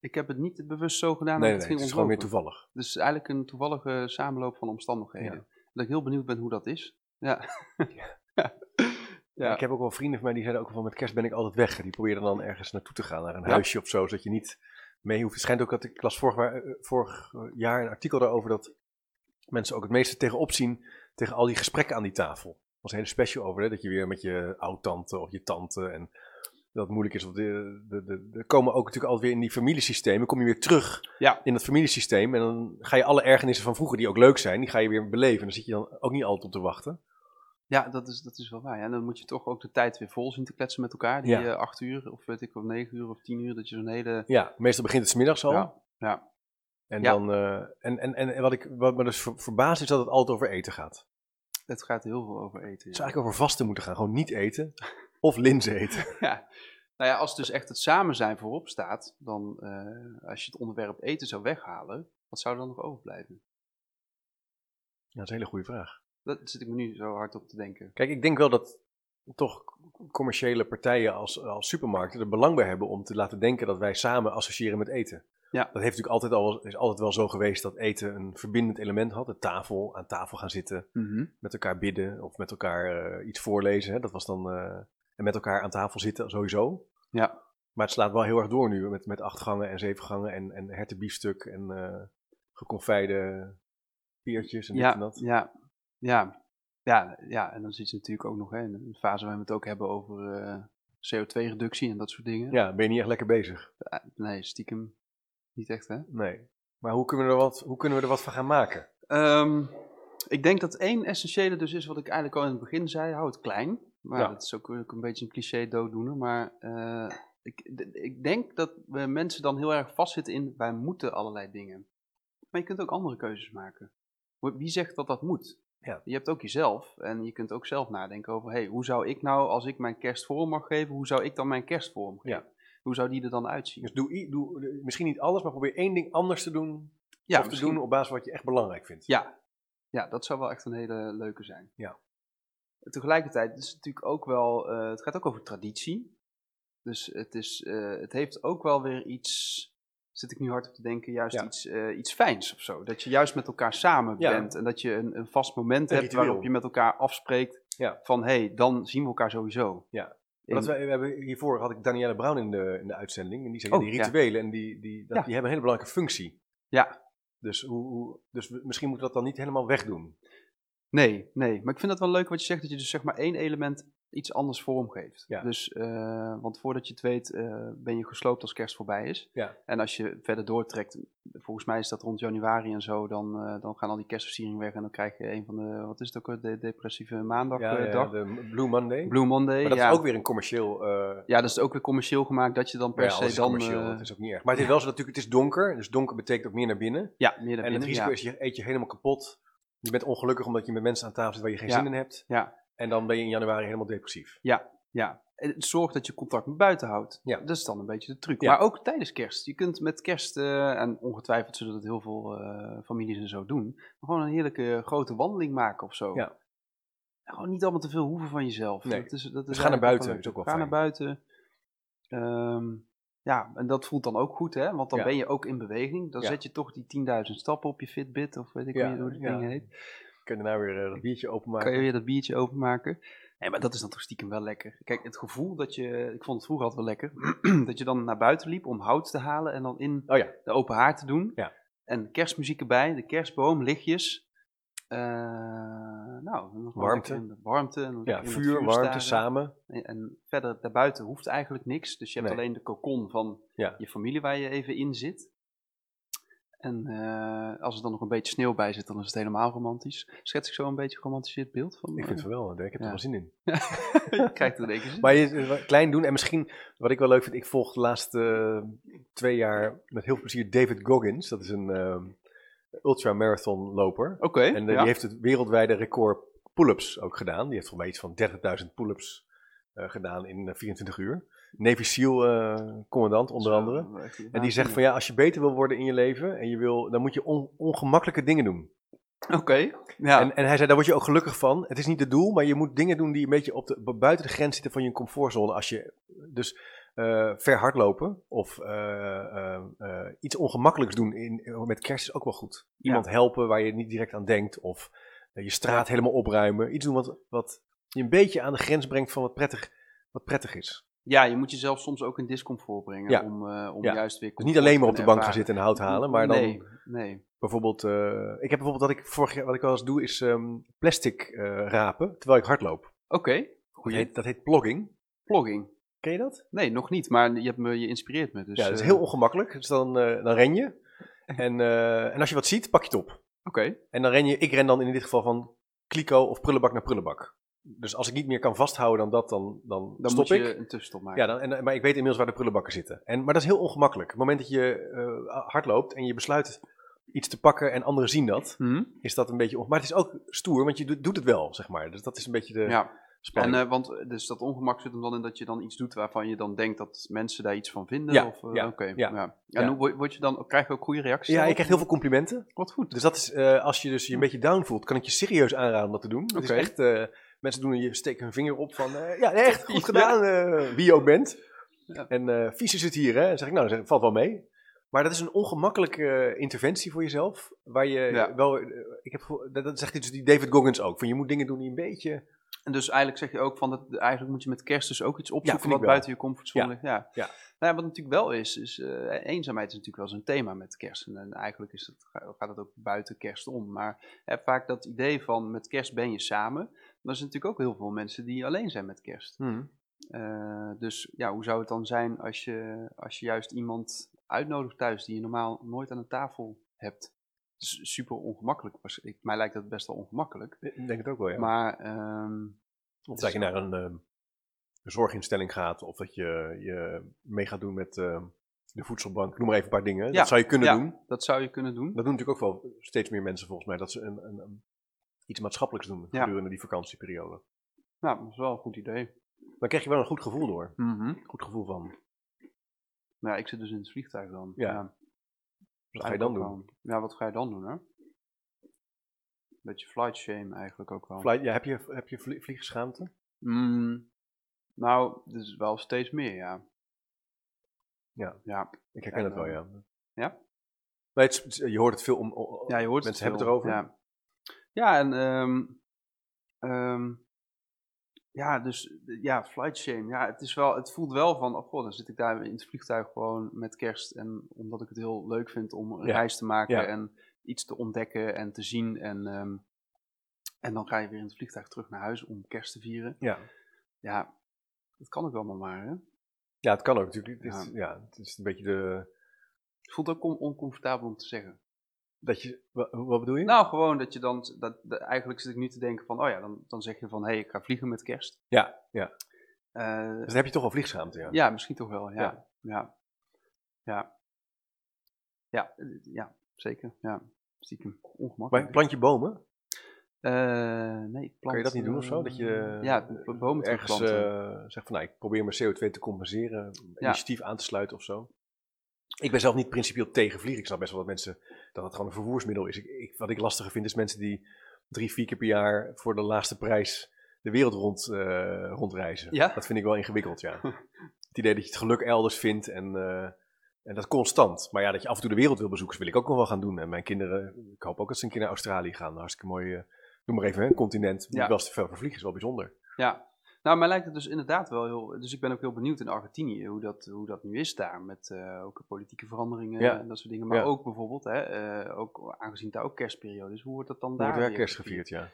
[SPEAKER 2] Ik heb het niet bewust zo
[SPEAKER 1] nee,
[SPEAKER 2] gedaan dat
[SPEAKER 1] nee,
[SPEAKER 2] het
[SPEAKER 1] nee, het
[SPEAKER 2] ging
[SPEAKER 1] is gewoon weer
[SPEAKER 2] ontlopen.
[SPEAKER 1] toevallig.
[SPEAKER 2] Dus eigenlijk een toevallige samenloop van omstandigheden. Dat ik heel benieuwd ben hoe dat is. Ja. ja.
[SPEAKER 1] Ja. Ik heb ook wel vrienden van mij die zeiden ook van met kerst ben ik altijd weg. Die proberen dan ergens naartoe te gaan, naar een
[SPEAKER 2] Ja.
[SPEAKER 1] huisje of zo, zodat je niet mee hoeft. Het schijnt ook dat ik las vorig, wa- eh, vorig jaar een artikel daarover dat mensen ook het meeste tegenop zien tegen al die gesprekken aan die tafel. Er was een hele special over, hè? dat je weer met je oud-tante of je tante en dat het moeilijk is. Want de, de, de, er komen ook natuurlijk altijd weer in die familiesystemen, kom je weer terug
[SPEAKER 2] Ja.
[SPEAKER 1] in dat familiesysteem en dan ga je alle ergernissen van vroeger die ook leuk zijn, die ga je weer beleven. En daar zit je dan ook niet altijd op te wachten.
[SPEAKER 2] Ja, dat is, dat is wel waar. ja. En dan moet je toch ook de tijd weer vol zien te kletsen met elkaar. Die
[SPEAKER 1] Ja.
[SPEAKER 2] eh, acht uur, of weet ik wel, negen uur of tien uur. Dat je zo'n hele...
[SPEAKER 1] Ja, meestal begint het 's middags al.
[SPEAKER 2] Ja, ja.
[SPEAKER 1] En,
[SPEAKER 2] Ja.
[SPEAKER 1] dan, eh, en, en, en wat, ik, wat me dus ver- verbaast is dat het altijd over eten gaat. Het
[SPEAKER 2] het gaat heel veel over eten.
[SPEAKER 1] zou
[SPEAKER 2] ja.
[SPEAKER 1] eigenlijk over vasten moeten gaan. Gewoon niet eten of linzen eten.
[SPEAKER 2] Ja, Nou ja, als dus echt het samen zijn voorop staat, dan eh, als je het onderwerp eten zou weghalen, wat zou er dan nog overblijven?
[SPEAKER 1] dat is een hele goede vraag.
[SPEAKER 2] Daar zit ik me nu zo hard op te denken.
[SPEAKER 1] Kijk, ik denk wel dat toch commerciële partijen als, als supermarkten er belang bij hebben om te laten denken dat wij samen associëren met eten.
[SPEAKER 2] Ja.
[SPEAKER 1] Dat heeft natuurlijk altijd al, is altijd wel zo geweest dat eten een verbindend element had. De tafel, aan tafel gaan zitten, met elkaar bidden of met elkaar eh, iets voorlezen. Hè? Dat was dan, eh, en met elkaar aan tafel zitten sowieso.
[SPEAKER 2] Ja.
[SPEAKER 1] Maar het slaat wel heel erg door nu met, met acht gangen en zeven gangen en, en hertenbiefstuk en eh geconfijde peertjes en dit en
[SPEAKER 2] Ja,
[SPEAKER 1] dat.
[SPEAKER 2] ja, ja, ja, ja. En dan zit je natuurlijk ook nog hè, in een fase waarin we het ook hebben over eh, CO2-reductie en dat soort dingen.
[SPEAKER 1] Ja, ben je niet echt lekker bezig?
[SPEAKER 2] Eh, Nee, stiekem niet echt, hè?
[SPEAKER 1] Nee. Maar hoe kunnen we er wat, hoe kunnen we er wat van gaan maken?
[SPEAKER 2] Ehm, ik denk dat één essentiële dus is wat ik eigenlijk al in het begin zei, hou het klein. Maar
[SPEAKER 1] Ja.
[SPEAKER 2] dat is ook, ook een beetje een cliché dooddoener. Maar eh, ik, d- ik denk dat we mensen dan heel erg vastzitten in wij moeten allerlei dingen. Maar je kunt ook andere keuzes maken. Wie wie zegt dat dat moet?
[SPEAKER 1] Ja.
[SPEAKER 2] Je hebt ook jezelf en je kunt ook zelf nadenken over, hey, hoe zou ik nou, als ik mijn kerst vorm mag geven, hoe zou ik dan mijn kerst vorm geven?
[SPEAKER 1] Ja.
[SPEAKER 2] Hoe zou die er dan uitzien?
[SPEAKER 1] Dus doe, i- doe eh, misschien niet alles, maar probeer één ding anders te doen.
[SPEAKER 2] ja,
[SPEAKER 1] of te
[SPEAKER 2] misschien-
[SPEAKER 1] doen op basis van wat je echt belangrijk vindt.
[SPEAKER 2] Ja. ja, dat zou wel echt een hele leuke zijn.
[SPEAKER 1] Ja.
[SPEAKER 2] Tegelijkertijd is het natuurlijk ook wel, eh, het gaat ook over traditie. Dus het, is, eh, het heeft ook wel weer iets, zit ik nu hard op te denken, juist
[SPEAKER 1] Ja.
[SPEAKER 2] iets, eh, iets fijns of zo. Dat je juist met elkaar samen
[SPEAKER 1] Ja.
[SPEAKER 2] bent en dat je een, een vast moment
[SPEAKER 1] Een
[SPEAKER 2] hebt
[SPEAKER 1] ritueel.
[SPEAKER 2] waarop je met elkaar afspreekt
[SPEAKER 1] Ja.
[SPEAKER 2] van hé, hey, dan zien we elkaar sowieso.
[SPEAKER 1] Ja.
[SPEAKER 2] In-
[SPEAKER 1] Maar dat wij- we hebben, hiervoor had ik Danielle Brown in de, in de uitzending. En die zei,
[SPEAKER 2] Oh,
[SPEAKER 1] die
[SPEAKER 2] ja.
[SPEAKER 1] rituelen en die, die, dat,
[SPEAKER 2] Ja.
[SPEAKER 1] die hebben een hele belangrijke functie.
[SPEAKER 2] Ja.
[SPEAKER 1] Dus, hoe, hoe, dus we- misschien moeten we dat dan niet helemaal wegdoen.
[SPEAKER 2] Nee, nee. Maar ik vind dat wel leuk wat je zegt, dat je dus zeg maar één element iets anders vormgeeft.
[SPEAKER 1] Ja.
[SPEAKER 2] Dus, eh, want voordat je het weet, eh, ben je gesloopt als kerst voorbij is.
[SPEAKER 1] Ja.
[SPEAKER 2] En als je verder doortrekt, volgens mij is dat rond januari en zo, dan, eh, dan gaan al die kerstversieringen weg en dan krijg je een van de, wat is het ook, weer, de depressieve maandagdag. eh, dag?
[SPEAKER 1] de Blue Monday.
[SPEAKER 2] Blue Monday.
[SPEAKER 1] maar dat
[SPEAKER 2] ja.
[SPEAKER 1] is ook weer een commercieel... eh
[SPEAKER 2] ja, dat is ook weer commercieel gemaakt, dat je dan per
[SPEAKER 1] ja, alles
[SPEAKER 2] se
[SPEAKER 1] is
[SPEAKER 2] dan...
[SPEAKER 1] commercieel,
[SPEAKER 2] eh,
[SPEAKER 1] dat is ook niet erg. Maar het is wel zo dat natuurlijk, het is donker. Dus donker betekent ook meer naar binnen.
[SPEAKER 2] ja, meer dan
[SPEAKER 1] en het
[SPEAKER 2] binnen,
[SPEAKER 1] risico
[SPEAKER 2] ja.
[SPEAKER 1] is, je eet je helemaal kapot. Je bent ongelukkig omdat je met mensen aan tafel zit waar je geen
[SPEAKER 2] Ja.
[SPEAKER 1] zin in hebt.
[SPEAKER 2] Ja.
[SPEAKER 1] En dan ben je in januari helemaal depressief.
[SPEAKER 2] Ja, en zorg dat je contact met buiten houdt.
[SPEAKER 1] Ja.
[SPEAKER 2] Dat is dan een beetje de truc.
[SPEAKER 1] Ja.
[SPEAKER 2] Maar ook tijdens kerst. Je kunt met kerst, eh, en ongetwijfeld zullen dat heel veel eh, families en zo doen, maar gewoon een heerlijke grote wandeling maken of zo.
[SPEAKER 1] Ja.
[SPEAKER 2] En gewoon niet allemaal te veel hoeven van jezelf.
[SPEAKER 1] Nee.
[SPEAKER 2] Dat is, dat is
[SPEAKER 1] Dus ga naar
[SPEAKER 2] eigenlijk wel
[SPEAKER 1] buiten,
[SPEAKER 2] leuk.
[SPEAKER 1] is ook wel
[SPEAKER 2] Ga
[SPEAKER 1] fijn.
[SPEAKER 2] naar buiten. Ehm, ja, en dat voelt dan ook goed, hè? Want dan
[SPEAKER 1] Ja.
[SPEAKER 2] ben je ook in beweging. Dan
[SPEAKER 1] Ja.
[SPEAKER 2] zet je toch die 10.000 stappen op je Fitbit of weet ik
[SPEAKER 1] Ja,
[SPEAKER 2] hoe je- hoe die
[SPEAKER 1] ja.
[SPEAKER 2] ding heet.
[SPEAKER 1] Kun je daarna weer eh, dat biertje openmaken.
[SPEAKER 2] Kan je weer dat biertje openmaken? Nee, maar dat is dan toch stiekem wel lekker. Kijk, het gevoel dat je, ik vond het vroeger altijd wel lekker, dat je dan naar buiten liep om hout te halen en dan in
[SPEAKER 1] Oh ja,
[SPEAKER 2] de open haard te doen.
[SPEAKER 1] Ja.
[SPEAKER 2] En kerstmuziek erbij, de kerstboom, lichtjes. Eh, nou, nog wel
[SPEAKER 1] Warmte.
[SPEAKER 2] lekker in de warmte. En lekker
[SPEAKER 1] ja
[SPEAKER 2] in het
[SPEAKER 1] vuur,
[SPEAKER 2] staren.
[SPEAKER 1] warmte, samen.
[SPEAKER 2] En, en verder daarbuiten hoeft eigenlijk niks. Dus je hebt
[SPEAKER 1] Nee.
[SPEAKER 2] alleen de cocon van
[SPEAKER 1] Ja.
[SPEAKER 2] je familie waar je even in zit. En eh, als er dan nog een beetje sneeuw bij zit, dan is het helemaal romantisch. Schets ik zo een beetje een geromantiseerd beeld van?
[SPEAKER 1] Ik
[SPEAKER 2] eh,
[SPEAKER 1] vind het wel, eh, ik heb er
[SPEAKER 2] Ja.
[SPEAKER 1] wel zin in.
[SPEAKER 2] je krijgt er in één keer zin.
[SPEAKER 1] Maar je, eh, wat klein doen en misschien, wat ik wel leuk vind, ik volg de laatste eh, twee jaar met heel veel plezier David Goggins. Dat is een eh, ultramarathon loper.
[SPEAKER 2] Oké,
[SPEAKER 1] En eh,
[SPEAKER 2] ja.
[SPEAKER 1] die heeft het wereldwijde record pull-ups ook gedaan. Die heeft volgens mij iets van 30.000 pull-ups eh, gedaan in eh, 24 uur. Navy SEAL eh, commandant onder
[SPEAKER 2] Zo, eh,
[SPEAKER 1] andere.
[SPEAKER 2] echt een
[SPEAKER 1] En die zegt van
[SPEAKER 2] waanzinnig.
[SPEAKER 1] ja, als je beter wil worden in je leven, en je wil, dan moet je on- ongemakkelijke dingen doen.
[SPEAKER 2] Oké, ja.
[SPEAKER 1] En, en hij zei, daar word je ook gelukkig van. Het is niet het doel, maar je moet dingen doen die een beetje op de, bu- buiten de grens zitten van je comfortzone. Als je dus eh, ver hardlopen of eh, eh, eh, iets ongemakkelijks doen in, met kerst is ook wel goed. Iemand helpen waar je niet direct aan denkt of eh, je straat helemaal opruimen. Iets doen wat, wat je een beetje aan de grens brengt van wat prettig, wat prettig is.
[SPEAKER 2] ja, je moet jezelf soms ook in discomfort brengen
[SPEAKER 1] Ja.
[SPEAKER 2] om, eh, om
[SPEAKER 1] Ja.
[SPEAKER 2] juist weer...
[SPEAKER 1] Dus niet alleen maar op de bank gaan
[SPEAKER 2] ervaren.
[SPEAKER 1] zitten en hout halen, maar dan...
[SPEAKER 2] Nee, nee.
[SPEAKER 1] Bijvoorbeeld, eh, ik heb bijvoorbeeld wat ik vorig jaar, wat ik wel eens doe, is ehm, plastic eh, rapen terwijl ik hardloop.
[SPEAKER 2] Oké,
[SPEAKER 1] Dat
[SPEAKER 2] goeie
[SPEAKER 1] heet, dat heet blogging.
[SPEAKER 2] Vlogging.
[SPEAKER 1] Ken je dat?
[SPEAKER 2] Nee, nog niet, maar je, hebt me, je inspireert me. Dus,
[SPEAKER 1] ja, dat is
[SPEAKER 2] eh,
[SPEAKER 1] heel ongemakkelijk. Dus dan, eh, dan ren je. En, eh, en als je wat ziet, pak je het op.
[SPEAKER 2] Oké,
[SPEAKER 1] En dan ren je, ik ren dan in dit geval van kliko of prullenbak naar prullenbak. Dus als ik niet meer kan vasthouden dan dat, dan, dan,
[SPEAKER 2] dan
[SPEAKER 1] stop
[SPEAKER 2] moet
[SPEAKER 1] ik.
[SPEAKER 2] je een tussenstop maken.
[SPEAKER 1] Ja, dan, en, maar ik weet inmiddels waar de prullenbakken zitten. En, maar dat is heel ongemakkelijk. Op het moment dat je eh, hardloopt en je besluit iets te pakken en anderen zien dat, Mhm.
[SPEAKER 2] Hm?
[SPEAKER 1] is dat een beetje... on- Maar het is ook stoer, want je do- doet het wel, zeg maar. Dus dat is een beetje de...
[SPEAKER 2] ja. En,
[SPEAKER 1] Spanning.
[SPEAKER 2] eh, want eh, dus dat ongemak zit hem dan in dat je dan iets doet waarvan je dan denkt dat mensen daar iets van vinden?
[SPEAKER 1] Ja,
[SPEAKER 2] of, eh,
[SPEAKER 1] ja,
[SPEAKER 2] oké,
[SPEAKER 1] ja,
[SPEAKER 2] En
[SPEAKER 1] ja.
[SPEAKER 2] hoe word- word je dan, krijg je ook goede reacties?
[SPEAKER 1] ja, ik
[SPEAKER 2] daarop?
[SPEAKER 1] krijg heel veel complimenten.
[SPEAKER 2] Wat goed.
[SPEAKER 1] Dus dat is, eh, als je dus je een beetje down voelt, kan ik je serieus aanraden om dat te doen. Het is
[SPEAKER 2] Oké.
[SPEAKER 1] echt, eh, mensen doen je steken hun vinger op van, eh, ja, nee, echt goed gedaan, eh, wie je ook bent.
[SPEAKER 2] Ja.
[SPEAKER 1] En eh vies is het hier, hè? Dan zeg ik, nou, dan zeg ik, valt wel mee. Maar dat is een ongemakkelijke eh, interventie voor jezelf, waar je
[SPEAKER 2] Ja.
[SPEAKER 1] wel, eh, ik heb, gevo- dat, dat zegt iets die David Goggins ook, van je moet dingen doen die een beetje,
[SPEAKER 2] En dus eigenlijk zeg je ook van, dat, eigenlijk moet je met kerst dus ook iets
[SPEAKER 1] vind
[SPEAKER 2] opzoeken
[SPEAKER 1] ik
[SPEAKER 2] wat
[SPEAKER 1] wel.
[SPEAKER 2] buiten je comfortzone
[SPEAKER 1] Ja,
[SPEAKER 2] ligt. Ja.
[SPEAKER 1] ja.
[SPEAKER 2] Nou, ja, wat natuurlijk wel is, is eh, eenzaamheid is natuurlijk wel zo'n thema met kerst. En, en eigenlijk is dat, ga- gaat het ook buiten kerst om. Maar hè, vaak dat idee van met kerst ben je samen. Maar er zijn natuurlijk ook heel veel mensen die alleen zijn met kerst. Eh, dus ja, hoe zou het dan zijn als je, als je juist iemand uitnodigt thuis die je normaal nooit aan de tafel hebt? Het is Super ongemakkelijk. pers- Ik, mij lijkt dat best wel ongemakkelijk.
[SPEAKER 1] ik denk het ook wel, ja.
[SPEAKER 2] Maar ehm,
[SPEAKER 1] Of dat je naar een ehm, een zorginstelling gaat, of dat je, je mee gaat doen met ehm, de voedselbank, noem maar even een paar dingen.
[SPEAKER 2] Ja,
[SPEAKER 1] Dat zou je kunnen
[SPEAKER 2] ja.
[SPEAKER 1] doen.
[SPEAKER 2] dat zou je kunnen doen.
[SPEAKER 1] Dat doen natuurlijk ook wel steeds meer mensen volgens mij, dat ze een, een, een- iets maatschappelijks doen
[SPEAKER 2] Ja.
[SPEAKER 1] gedurende die vakantieperiode.
[SPEAKER 2] Nou, dat is wel een goed idee.
[SPEAKER 1] Dan krijg je wel een goed gevoel door. Goed gevoel van,
[SPEAKER 2] Nou, ik zit dus in het vliegtuig dan.
[SPEAKER 1] Ja, wat ga je dan
[SPEAKER 2] eigenlijk
[SPEAKER 1] doen?
[SPEAKER 2] ook wel. Ja, wat ga je dan doen, hè? Beetje flight shame eigenlijk ook wel.
[SPEAKER 1] Flight- ja, heb je, heb je vlie- vliegschaamte?
[SPEAKER 2] Mm, nou, dus wel steeds meer, ja.
[SPEAKER 1] Ja.
[SPEAKER 2] Ja,
[SPEAKER 1] Ik herken
[SPEAKER 2] Ja,
[SPEAKER 1] het wel,
[SPEAKER 2] dan-
[SPEAKER 1] ja.
[SPEAKER 2] Ja?
[SPEAKER 1] Nee, het is- je hoort het veel om. o- o-
[SPEAKER 2] ja je hoort
[SPEAKER 1] mensen
[SPEAKER 2] het
[SPEAKER 1] hebben het
[SPEAKER 2] veel,
[SPEAKER 1] erover.
[SPEAKER 2] Ja, ja en... ehm, ehm, ja, dus ja, flight shame. Ja, het, is wel, het voelt wel van, oh god, dan zit ik daar in het vliegtuig gewoon met kerst. En omdat ik het heel leuk vind om een
[SPEAKER 1] Ja.
[SPEAKER 2] reis te maken
[SPEAKER 1] Ja.
[SPEAKER 2] en iets te ontdekken en te zien. En, ehm, en dan ga je weer in het vliegtuig terug naar huis om kerst te vieren.
[SPEAKER 1] Ja.
[SPEAKER 2] Ja, dat kan ook allemaal maar, hè?
[SPEAKER 1] ja, het kan ook natuurlijk. Het,
[SPEAKER 2] Ja.
[SPEAKER 1] is, ja, het is een beetje de.
[SPEAKER 2] Het voelt ook on- oncomfortabel om te zeggen.
[SPEAKER 1] Dat je, wa- wat bedoel je?
[SPEAKER 2] Nou, gewoon dat je dan, dat, dat- eigenlijk zit ik nu te denken van, oh ja, dan, dan zeg je van, hé, hey, ik ga vliegen met kerst.
[SPEAKER 1] ja, ja.
[SPEAKER 2] Eh,
[SPEAKER 1] Dus dan heb je toch wel vliegschaamte, ja.
[SPEAKER 2] ja, misschien toch wel, ja. Ja,
[SPEAKER 1] Ja.
[SPEAKER 2] ja, ja, ja, eh, ja zeker, ja. Stiekem
[SPEAKER 1] Maar
[SPEAKER 2] ongemakkelijk.
[SPEAKER 1] plant je bomen?
[SPEAKER 2] Eh, nee, ik
[SPEAKER 1] Kan
[SPEAKER 2] plant,
[SPEAKER 1] je dat niet doen of zo?
[SPEAKER 2] eh,
[SPEAKER 1] Dat je
[SPEAKER 2] ja,
[SPEAKER 1] eh,
[SPEAKER 2] bomen
[SPEAKER 1] ergens
[SPEAKER 2] terugplanten.
[SPEAKER 1] eh, zegt van nou, ik probeer mijn CO2 te compenseren,
[SPEAKER 2] Ja.
[SPEAKER 1] initiatief aan te sluiten of zo. Ik ben zelf niet principieel tegen vliegen. Ik snap best wel dat mensen dat het gewoon een vervoersmiddel is. Ik, ik, wat ik lastiger vind is mensen die drie, vier keer per jaar voor de laagste prijs de wereld rond, eh, rondreizen.
[SPEAKER 2] Ja?
[SPEAKER 1] Dat vind ik wel ingewikkeld, ja. het idee dat je het geluk elders vindt en, eh, en dat constant. Maar ja, dat je af en toe de wereld wil bezoeken, wil ik ook nog wel gaan doen. En mijn kinderen, ik hoop ook dat ze een keer naar Australië gaan. Een hartstikke mooi, eh, noem maar even, hè, continent.
[SPEAKER 2] Ja.
[SPEAKER 1] Ja. Wel eens te veel voor vliegen is wel bijzonder.
[SPEAKER 2] Ja, nou, mij lijkt het dus inderdaad wel heel. Dus ik ben ook heel benieuwd in Argentinië hoe dat, hoe dat nu is daar. Met eh, ook de politieke veranderingen
[SPEAKER 1] Ja,
[SPEAKER 2] en dat soort dingen. Maar
[SPEAKER 1] ja.
[SPEAKER 2] ook bijvoorbeeld, hè, eh, ook, aangezien daar ook kerstperiode is, hoe wordt dat dan
[SPEAKER 1] Daar
[SPEAKER 2] daar?
[SPEAKER 1] wordt daar
[SPEAKER 2] weer
[SPEAKER 1] kerst gevierd, ja.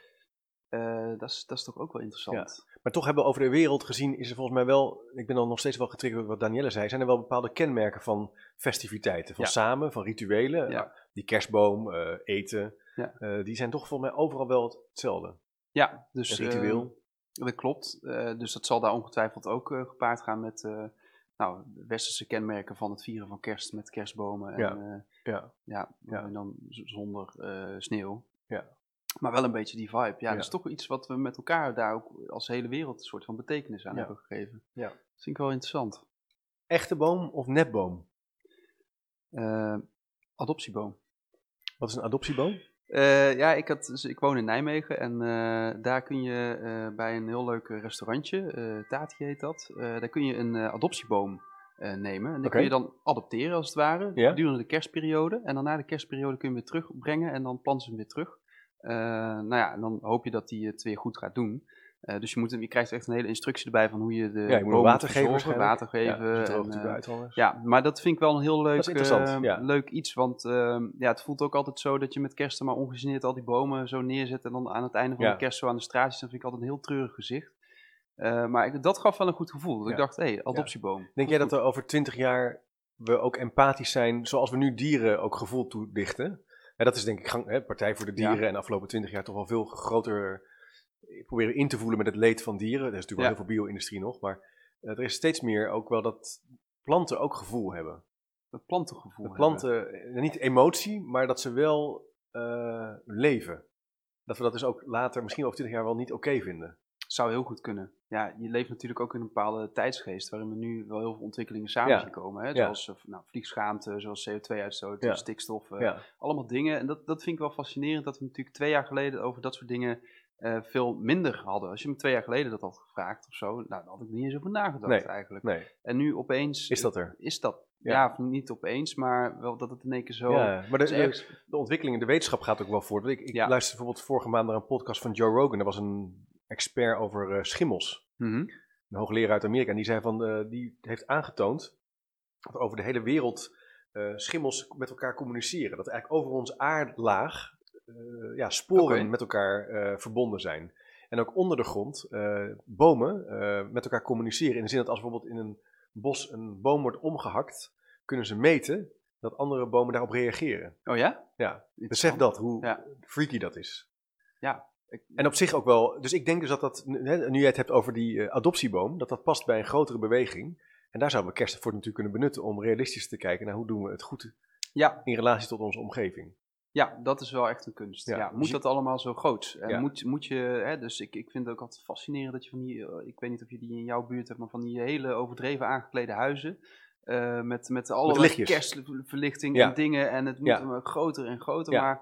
[SPEAKER 2] Eh, dat, is, dat is toch ook wel interessant.
[SPEAKER 1] Maar toch hebben we over de wereld gezien, is er volgens mij wel, ik ben dan nog steeds wel getriggerd door wat Danielle zei, zijn er wel bepaalde kenmerken van festiviteiten, van
[SPEAKER 2] Ja.
[SPEAKER 1] samen, van rituelen.
[SPEAKER 2] Ja.
[SPEAKER 1] Nou, Die kerstboom, eh, eten,
[SPEAKER 2] Ja.
[SPEAKER 1] eh, die zijn toch volgens mij overal wel het- hetzelfde.
[SPEAKER 2] Ja, dus.
[SPEAKER 1] Een ritueel.
[SPEAKER 2] eh, dat klopt. Eh, dus dat zal daar ongetwijfeld ook eh, gepaard gaan met. eh, nou, westerse kenmerken van het vieren van kerst met kerstbomen. En,
[SPEAKER 1] Ja.
[SPEAKER 2] eh,
[SPEAKER 1] ja.
[SPEAKER 2] Ja,
[SPEAKER 1] Ja.
[SPEAKER 2] en dan z- zonder eh, sneeuw.
[SPEAKER 1] Ja.
[SPEAKER 2] Maar wel een beetje die vibe. Ja,
[SPEAKER 1] Ja.
[SPEAKER 2] dat is toch iets wat we met elkaar daar ook als hele wereld een soort van betekenis aan
[SPEAKER 1] Ja.
[SPEAKER 2] hebben gegeven.
[SPEAKER 1] Ja.
[SPEAKER 2] Dat vind ik wel interessant.
[SPEAKER 1] Echte boom of nepboom?
[SPEAKER 2] Eh, adoptieboom.
[SPEAKER 1] Wat is een adoptieboom?
[SPEAKER 2] Eh, ja, ik, had, dus ik woon in Nijmegen en eh, daar kun je eh, bij een heel leuk restaurantje, eh Tati heet dat, eh, daar kun je een eh, adoptieboom eh, nemen. En die
[SPEAKER 1] Oké.
[SPEAKER 2] kun je dan adopteren als het ware,
[SPEAKER 1] Ja.
[SPEAKER 2] gedurende de kerstperiode. En dan na de kerstperiode kun je hem weer terugbrengen en dan planten ze hem weer terug. Eh, nou ja, en dan hoop je dat hij het weer goed gaat doen. Eh, dus je, moet, hem- je krijgt echt een hele instructie erbij van hoe je de
[SPEAKER 1] Ja, je moet hem
[SPEAKER 2] boom
[SPEAKER 1] water geven
[SPEAKER 2] verzorgen,
[SPEAKER 1] waarschijnlijk.
[SPEAKER 2] water geven.
[SPEAKER 1] ja, het droogt
[SPEAKER 2] en,
[SPEAKER 1] natuurlijk
[SPEAKER 2] eh,
[SPEAKER 1] uit anders.
[SPEAKER 2] ja, maar dat vind ik wel een heel leuk,
[SPEAKER 1] Dat is interessant,
[SPEAKER 2] eh,
[SPEAKER 1] ja.
[SPEAKER 2] leuk iets. Want eh, ja, het voelt ook altijd zo dat je met kerst maar ongegeneerd al die bomen zo neerzet. En dan aan het einde van
[SPEAKER 1] Ja.
[SPEAKER 2] de kerst zo aan de straat zit. Dan vind ik altijd een heel treurig gezicht. Eh, maar ik, dat gaf wel een goed gevoel. Dat ik
[SPEAKER 1] Ja.
[SPEAKER 2] dacht, hé, hey, adoptieboom.
[SPEAKER 1] Denk jij dat er over twintig jaar we ook empathisch zijn, zoals we nu dieren ook gevoel toedichten? En dat is denk ik gang, hè, Partij voor de
[SPEAKER 2] Ja.
[SPEAKER 1] Dieren en de afgelopen twintig jaar toch wel veel groter eh, proberen in te voelen met het leed van dieren. Er is natuurlijk
[SPEAKER 2] Ja.
[SPEAKER 1] wel heel veel bio-industrie nog, maar eh, er is steeds meer ook wel dat planten ook gevoel hebben.
[SPEAKER 2] Het plantengevoel.
[SPEAKER 1] Dat
[SPEAKER 2] hebben.
[SPEAKER 1] planten, eh, niet emotie, maar dat ze wel eh, leven. Dat we dat dus ook later, misschien over twintig jaar, wel niet oké vinden.
[SPEAKER 2] Zou heel goed kunnen. Ja, je leeft natuurlijk ook in een bepaalde tijdsgeest waarin we nu wel heel veel ontwikkelingen samen
[SPEAKER 1] Ja.
[SPEAKER 2] zien komen. Hè?
[SPEAKER 1] Ja.
[SPEAKER 2] Zoals eh, nou, vliegschaamte, zoals CO2-uitstoot,
[SPEAKER 1] Ja.
[SPEAKER 2] stikstof, eh,
[SPEAKER 1] ja.
[SPEAKER 2] allemaal dingen. En dat, dat vind ik wel fascinerend dat we natuurlijk twee jaar geleden over dat soort dingen eh, veel minder hadden. Als je me twee jaar geleden dat had gevraagd of zo, nou, daar had ik niet eens over nagedacht
[SPEAKER 1] Nee.
[SPEAKER 2] eigenlijk.
[SPEAKER 1] Nee,
[SPEAKER 2] En nu opeens
[SPEAKER 1] is dat er?
[SPEAKER 2] is dat.
[SPEAKER 1] Ja.
[SPEAKER 2] Ja. of niet opeens, maar wel dat het in één keer zo... Dus
[SPEAKER 1] Ja, maar
[SPEAKER 2] dat
[SPEAKER 1] de,
[SPEAKER 2] is
[SPEAKER 1] de,
[SPEAKER 2] ergens-
[SPEAKER 1] de ontwikkeling in de wetenschap gaat ook wel voort. Want Ik, ik
[SPEAKER 2] Ja.
[SPEAKER 1] luisterde bijvoorbeeld vorige maand naar een podcast van Joe Rogan. Dat was een expert over eh, schimmels.
[SPEAKER 2] Mhm.
[SPEAKER 1] een hoogleraar uit Amerika. En die zei van, eh, die heeft aangetoond dat over de hele wereld eh, schimmels met elkaar communiceren. Dat eigenlijk over ons aardlaag eh, ja, sporen
[SPEAKER 2] Oké.
[SPEAKER 1] met elkaar eh, verbonden zijn. En ook onder de grond eh, bomen eh, met elkaar communiceren. In de zin dat als bijvoorbeeld in een bos een boom wordt omgehakt, kunnen ze meten dat andere bomen daarop reageren.
[SPEAKER 2] Oh ja?
[SPEAKER 1] Ja, besef dat, hoe
[SPEAKER 2] Ja.
[SPEAKER 1] freaky dat is.
[SPEAKER 2] Ja. Ik-
[SPEAKER 1] En op zich ook wel. Dus ik denk dus dat dat, hè, nu jij het hebt over die eh, adoptieboom, dat dat past bij een grotere beweging. En daar zouden we kerst voor natuurlijk kunnen benutten om realistisch te kijken naar hoe doen we het goed
[SPEAKER 2] Ja,
[SPEAKER 1] in relatie tot onze omgeving.
[SPEAKER 2] ja, dat is wel echt een kunst.
[SPEAKER 1] Ja.
[SPEAKER 2] Ja.
[SPEAKER 1] Dus
[SPEAKER 2] moet
[SPEAKER 1] je-
[SPEAKER 2] dat allemaal zo groot? En
[SPEAKER 1] Ja.
[SPEAKER 2] moet, moet je, hè, dus ik, ik vind het ook altijd fascinerend dat je van die, eh, ik weet niet of je die in jouw buurt hebt, maar van die hele overdreven aangeklede huizen. eh, met, met allerlei
[SPEAKER 1] lichtjes.
[SPEAKER 2] kerstverlichting
[SPEAKER 1] Ja.
[SPEAKER 2] en dingen. En het moet
[SPEAKER 1] Ja.
[SPEAKER 2] maar groter en groter.
[SPEAKER 1] Ja.
[SPEAKER 2] Maar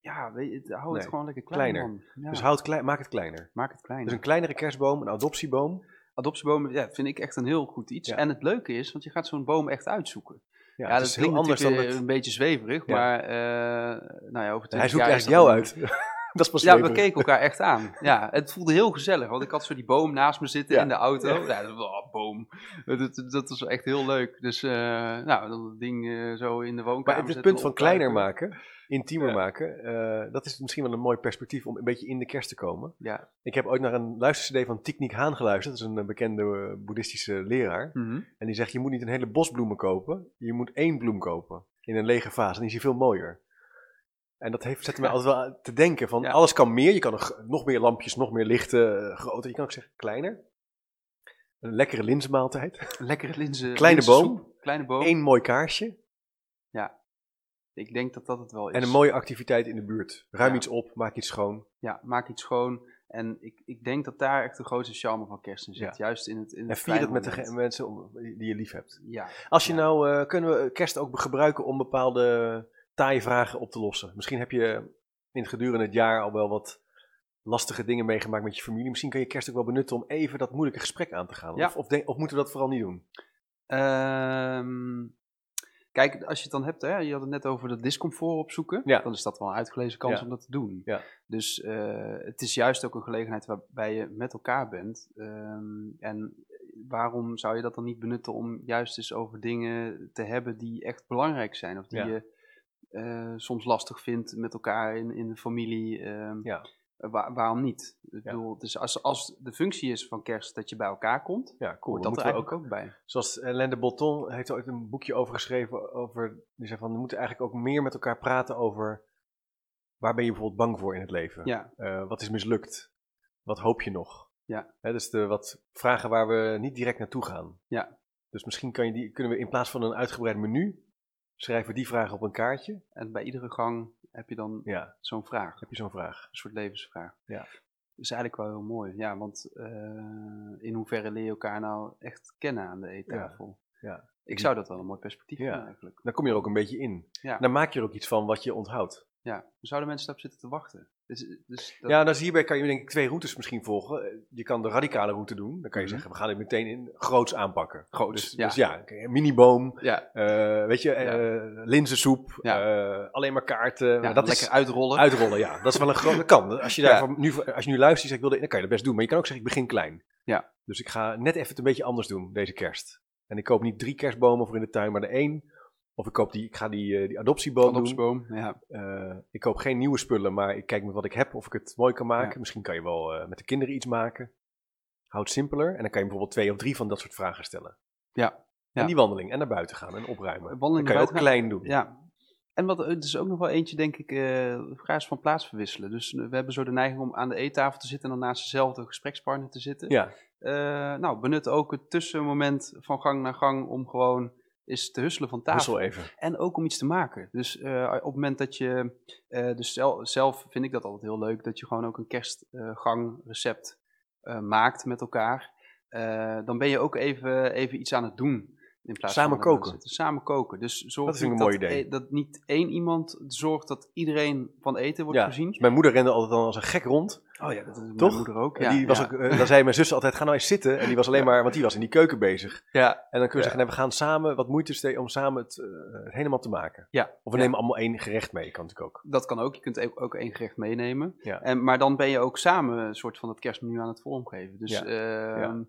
[SPEAKER 2] ja, weet je, hou het
[SPEAKER 1] Nee,
[SPEAKER 2] gewoon lekker klein,
[SPEAKER 1] kleiner.
[SPEAKER 2] man. Ja,
[SPEAKER 1] Dus houd klein, maak het kleiner.
[SPEAKER 2] maak het kleiner.
[SPEAKER 1] Dus een kleinere kerstboom, een adoptieboom.
[SPEAKER 2] adoptiebomen ja, vind ik echt een heel goed iets.
[SPEAKER 1] Ja.
[SPEAKER 2] En het leuke is, want je gaat zo'n boom echt uitzoeken.
[SPEAKER 1] Ja,
[SPEAKER 2] Ja,
[SPEAKER 1] het
[SPEAKER 2] dat
[SPEAKER 1] is heel anders dan
[SPEAKER 2] natuurlijk eh,
[SPEAKER 1] het.
[SPEAKER 2] een beetje zweverig,
[SPEAKER 1] Ja.
[SPEAKER 2] maar eh, nou ja, over 20
[SPEAKER 1] Hij zoekt
[SPEAKER 2] jaar is
[SPEAKER 1] eigenlijk
[SPEAKER 2] dat
[SPEAKER 1] jou
[SPEAKER 2] dan-
[SPEAKER 1] uit. dat is pas
[SPEAKER 2] Ja, we
[SPEAKER 1] leuk.
[SPEAKER 2] keken elkaar echt aan. Ja, het voelde heel gezellig, want ik had zo die boom naast me zitten
[SPEAKER 1] Ja.
[SPEAKER 2] in de auto. Ja, dat, oh, boom. Dat, dat, dat was echt heel leuk. Dus eh, nou, dan dat ding eh, zo in de woonkamer
[SPEAKER 1] Maar het, het
[SPEAKER 2] zetten,
[SPEAKER 1] punt van
[SPEAKER 2] optuigen.
[SPEAKER 1] kleiner maken, intiemer
[SPEAKER 2] Ja.
[SPEAKER 1] maken, eh, dat is misschien wel een mooi perspectief om een beetje in de kerst te komen.
[SPEAKER 2] Ja.
[SPEAKER 1] Ik heb ooit naar een luistercd van Tiknik Haan geluisterd. Dat is een eh, bekende eh, boeddhistische leraar.
[SPEAKER 2] Mhm.
[SPEAKER 1] En die zegt, je moet niet een hele bos bloemen kopen. Je moet één bloem kopen in een lege vaas. En die is hier veel mooier. En dat heeft, zette mij altijd wel aan te denken van,
[SPEAKER 2] Ja.
[SPEAKER 1] alles kan meer. Je kan nog, nog meer lampjes, nog meer lichten, eh, groter. Je kan ook zeggen, kleiner. Een lekkere linzenmaaltijd.
[SPEAKER 2] Lekkere linzen.
[SPEAKER 1] Kleine
[SPEAKER 2] linzensoep.
[SPEAKER 1] boom.
[SPEAKER 2] Kleine boom.
[SPEAKER 1] Eén mooi kaarsje.
[SPEAKER 2] Ik denk dat dat het wel is.
[SPEAKER 1] En een mooie activiteit in de buurt. Ruim
[SPEAKER 2] Dus- Ja.
[SPEAKER 1] iets op, maak iets schoon.
[SPEAKER 2] ja, maak iets schoon. En ik, ik denk dat daar echt de grootste charme van kerst in zit. Juist in het, in het
[SPEAKER 1] En vier het
[SPEAKER 2] kleine
[SPEAKER 1] met de
[SPEAKER 2] moment.
[SPEAKER 1] ge- mensen om- die je lief hebt.
[SPEAKER 2] Ja,
[SPEAKER 1] Als je
[SPEAKER 2] Ja.
[SPEAKER 1] nou, eh, kunnen we kerst ook gebruiken om bepaalde taaie vragen op te lossen? Misschien heb je in het gedurende het jaar al wel wat lastige dingen meegemaakt met je familie. Misschien kun je kerst ook wel benutten om even dat moeilijke gesprek aan te gaan.
[SPEAKER 2] Ja.
[SPEAKER 1] Of, of, denk- of moeten we dat vooral niet doen?
[SPEAKER 2] Ehm, kijk, als je het dan hebt, hè, je had het net over dat discomfort opzoeken,
[SPEAKER 1] Ja.
[SPEAKER 2] dan is dat wel een uitgelezen kans
[SPEAKER 1] Ja.
[SPEAKER 2] om dat te doen.
[SPEAKER 1] Ja.
[SPEAKER 2] Dus eh, het is juist ook een gelegenheid waarbij je met elkaar bent. Ehm, en waarom zou je dat dan niet benutten om juist eens over dingen te hebben die echt belangrijk zijn of die
[SPEAKER 1] Ja.
[SPEAKER 2] je eh, soms lastig vindt met elkaar in, in de familie? ehm,
[SPEAKER 1] Ja.
[SPEAKER 2] wa- waarom niet? Ik bedoel, dus als, als de functie is van kerst dat je bij elkaar komt,
[SPEAKER 1] Ja, cool.
[SPEAKER 2] hoort
[SPEAKER 1] Dan
[SPEAKER 2] dat er
[SPEAKER 1] Oh, moeten we
[SPEAKER 2] eigenlijk ook bij.
[SPEAKER 1] ook- zoals eh, Lende Bolton heeft er ooit een boekje over geschreven. Over, die zei van, we moeten eigenlijk ook meer met elkaar praten over... Waar ben je bijvoorbeeld bang voor in het leven?
[SPEAKER 2] Ja.
[SPEAKER 1] Eh, wat is mislukt? Wat hoop je nog?
[SPEAKER 2] Ja.
[SPEAKER 1] Hè, dus de wat vragen waar we niet direct naartoe gaan.
[SPEAKER 2] Ja.
[SPEAKER 1] Dus misschien kan je die, kunnen we in plaats van een uitgebreid menu, schrijven we die vragen op een kaartje.
[SPEAKER 2] En bij iedere gang heb je dan
[SPEAKER 1] Ja,
[SPEAKER 2] zo'n vraag,
[SPEAKER 1] heb je zo'n vraag.
[SPEAKER 2] een soort levensvraag.
[SPEAKER 1] Ja.
[SPEAKER 2] Dat is eigenlijk wel heel mooi. Ja, want eh, in hoeverre leer je elkaar nou echt kennen aan de eettafel?
[SPEAKER 1] ja.
[SPEAKER 2] Ik zou dat wel een mooi perspectief
[SPEAKER 1] Ja.
[SPEAKER 2] vinden eigenlijk.
[SPEAKER 1] Dan kom je er ook een beetje in.
[SPEAKER 2] Ja.
[SPEAKER 1] Dan maak je er ook iets van wat je onthoudt.
[SPEAKER 2] Ja, dan zouden mensen daarop zitten te wachten. Dus, dus dat,
[SPEAKER 1] Ja, dus hierbij kan je denk ik twee routes misschien volgen. Eh, Je kan de radicale route doen. Dan kan je
[SPEAKER 2] Mhm.
[SPEAKER 1] zeggen, we gaan dit meteen in groots aanpakken. Groots, dus,
[SPEAKER 2] ja.
[SPEAKER 1] dus ja, een miniboom,
[SPEAKER 2] ja,
[SPEAKER 1] eh, weet je,
[SPEAKER 2] Ja.
[SPEAKER 1] eh, linzensoep, eh, alleen maar kaarten.
[SPEAKER 2] ja,
[SPEAKER 1] Maar
[SPEAKER 2] lekker uitrollen.
[SPEAKER 1] Uitrollen, ja. Dat is wel een grote kan. Als je, daar
[SPEAKER 2] Ja.
[SPEAKER 1] van nu, als je nu luistert en zegt, ik wil dit, dan kan je dat best doen. Maar je kan ook zeggen, ik begin klein.
[SPEAKER 2] Ja.
[SPEAKER 1] Dus ik ga net even het een beetje anders doen deze kerst. En ik koop niet drie kerstbomen voor in de tuin, maar de één. Of ik, koop die, ik ga die, eh, die adoptieboom doen.
[SPEAKER 2] Adoptieboom, ja.
[SPEAKER 1] Eh, ik koop geen nieuwe spullen, maar ik kijk met wat ik heb of ik het mooi kan maken.
[SPEAKER 2] Ja.
[SPEAKER 1] Misschien kan je wel eh, met de kinderen iets maken. Houd het simpeler. En dan kan je bijvoorbeeld twee of drie van dat soort vragen stellen.
[SPEAKER 2] Ja.
[SPEAKER 1] En
[SPEAKER 2] Ja.
[SPEAKER 1] die wandeling en naar buiten gaan en opruimen.
[SPEAKER 2] Wandeling
[SPEAKER 1] Dan kan je
[SPEAKER 2] naar
[SPEAKER 1] ook
[SPEAKER 2] buiten
[SPEAKER 1] klein doen.
[SPEAKER 2] ja. En wat, er is ook nog wel eentje, denk ik, eh vraag van plaats verwisselen. Dus eh, we hebben zo de neiging om aan de eettafel te zitten en dan naast dezelfde gesprekspartner te zitten.
[SPEAKER 1] Ja.
[SPEAKER 2] Eh, nou, benut ook het tussenmoment van gang naar gang om gewoon eens te husselen van tafel.
[SPEAKER 1] Hussel even.
[SPEAKER 2] En ook om iets te maken. Dus eh, op het moment dat je, eh, dus zel- zelf vind ik dat altijd heel leuk, dat je gewoon ook een kerstgangrecept eh, maakt met elkaar, eh, dan ben je ook even, even iets aan het doen. In plaats
[SPEAKER 1] Samen
[SPEAKER 2] van ernaar
[SPEAKER 1] koken.
[SPEAKER 2] zitten. Samen koken. Dus zorg
[SPEAKER 1] Dat vind ik een
[SPEAKER 2] dat,
[SPEAKER 1] mooi idee.
[SPEAKER 2] eh, dat niet één iemand zorgt dat iedereen van eten wordt
[SPEAKER 1] Ja.
[SPEAKER 2] voorzien.
[SPEAKER 1] Mijn moeder rende altijd dan als een gek rond.
[SPEAKER 2] Oh ja, dat is
[SPEAKER 1] Toch?
[SPEAKER 2] mijn moeder ook.
[SPEAKER 1] En
[SPEAKER 2] Ja,
[SPEAKER 1] die was
[SPEAKER 2] ja.
[SPEAKER 1] ook, eh, dan zei mijn zus altijd, ga nou eens zitten. En die was alleen maar, want die was in die keuken bezig.
[SPEAKER 2] Ja,
[SPEAKER 1] En dan kun je
[SPEAKER 2] Ja.
[SPEAKER 1] zeggen, nee, we gaan samen wat moeite steken om samen het, eh, het helemaal te maken.
[SPEAKER 2] ja.
[SPEAKER 1] Of we
[SPEAKER 2] ja.
[SPEAKER 1] nemen allemaal één gerecht mee, kan natuurlijk ook.
[SPEAKER 2] Dat kan ook. Je kunt e- ook één gerecht meenemen.
[SPEAKER 1] Ja.
[SPEAKER 2] En, maar dan ben je ook samen een soort van dat kerstmenu aan het vormgeven. Dus
[SPEAKER 1] Ja.
[SPEAKER 2] ehm,
[SPEAKER 1] Ja.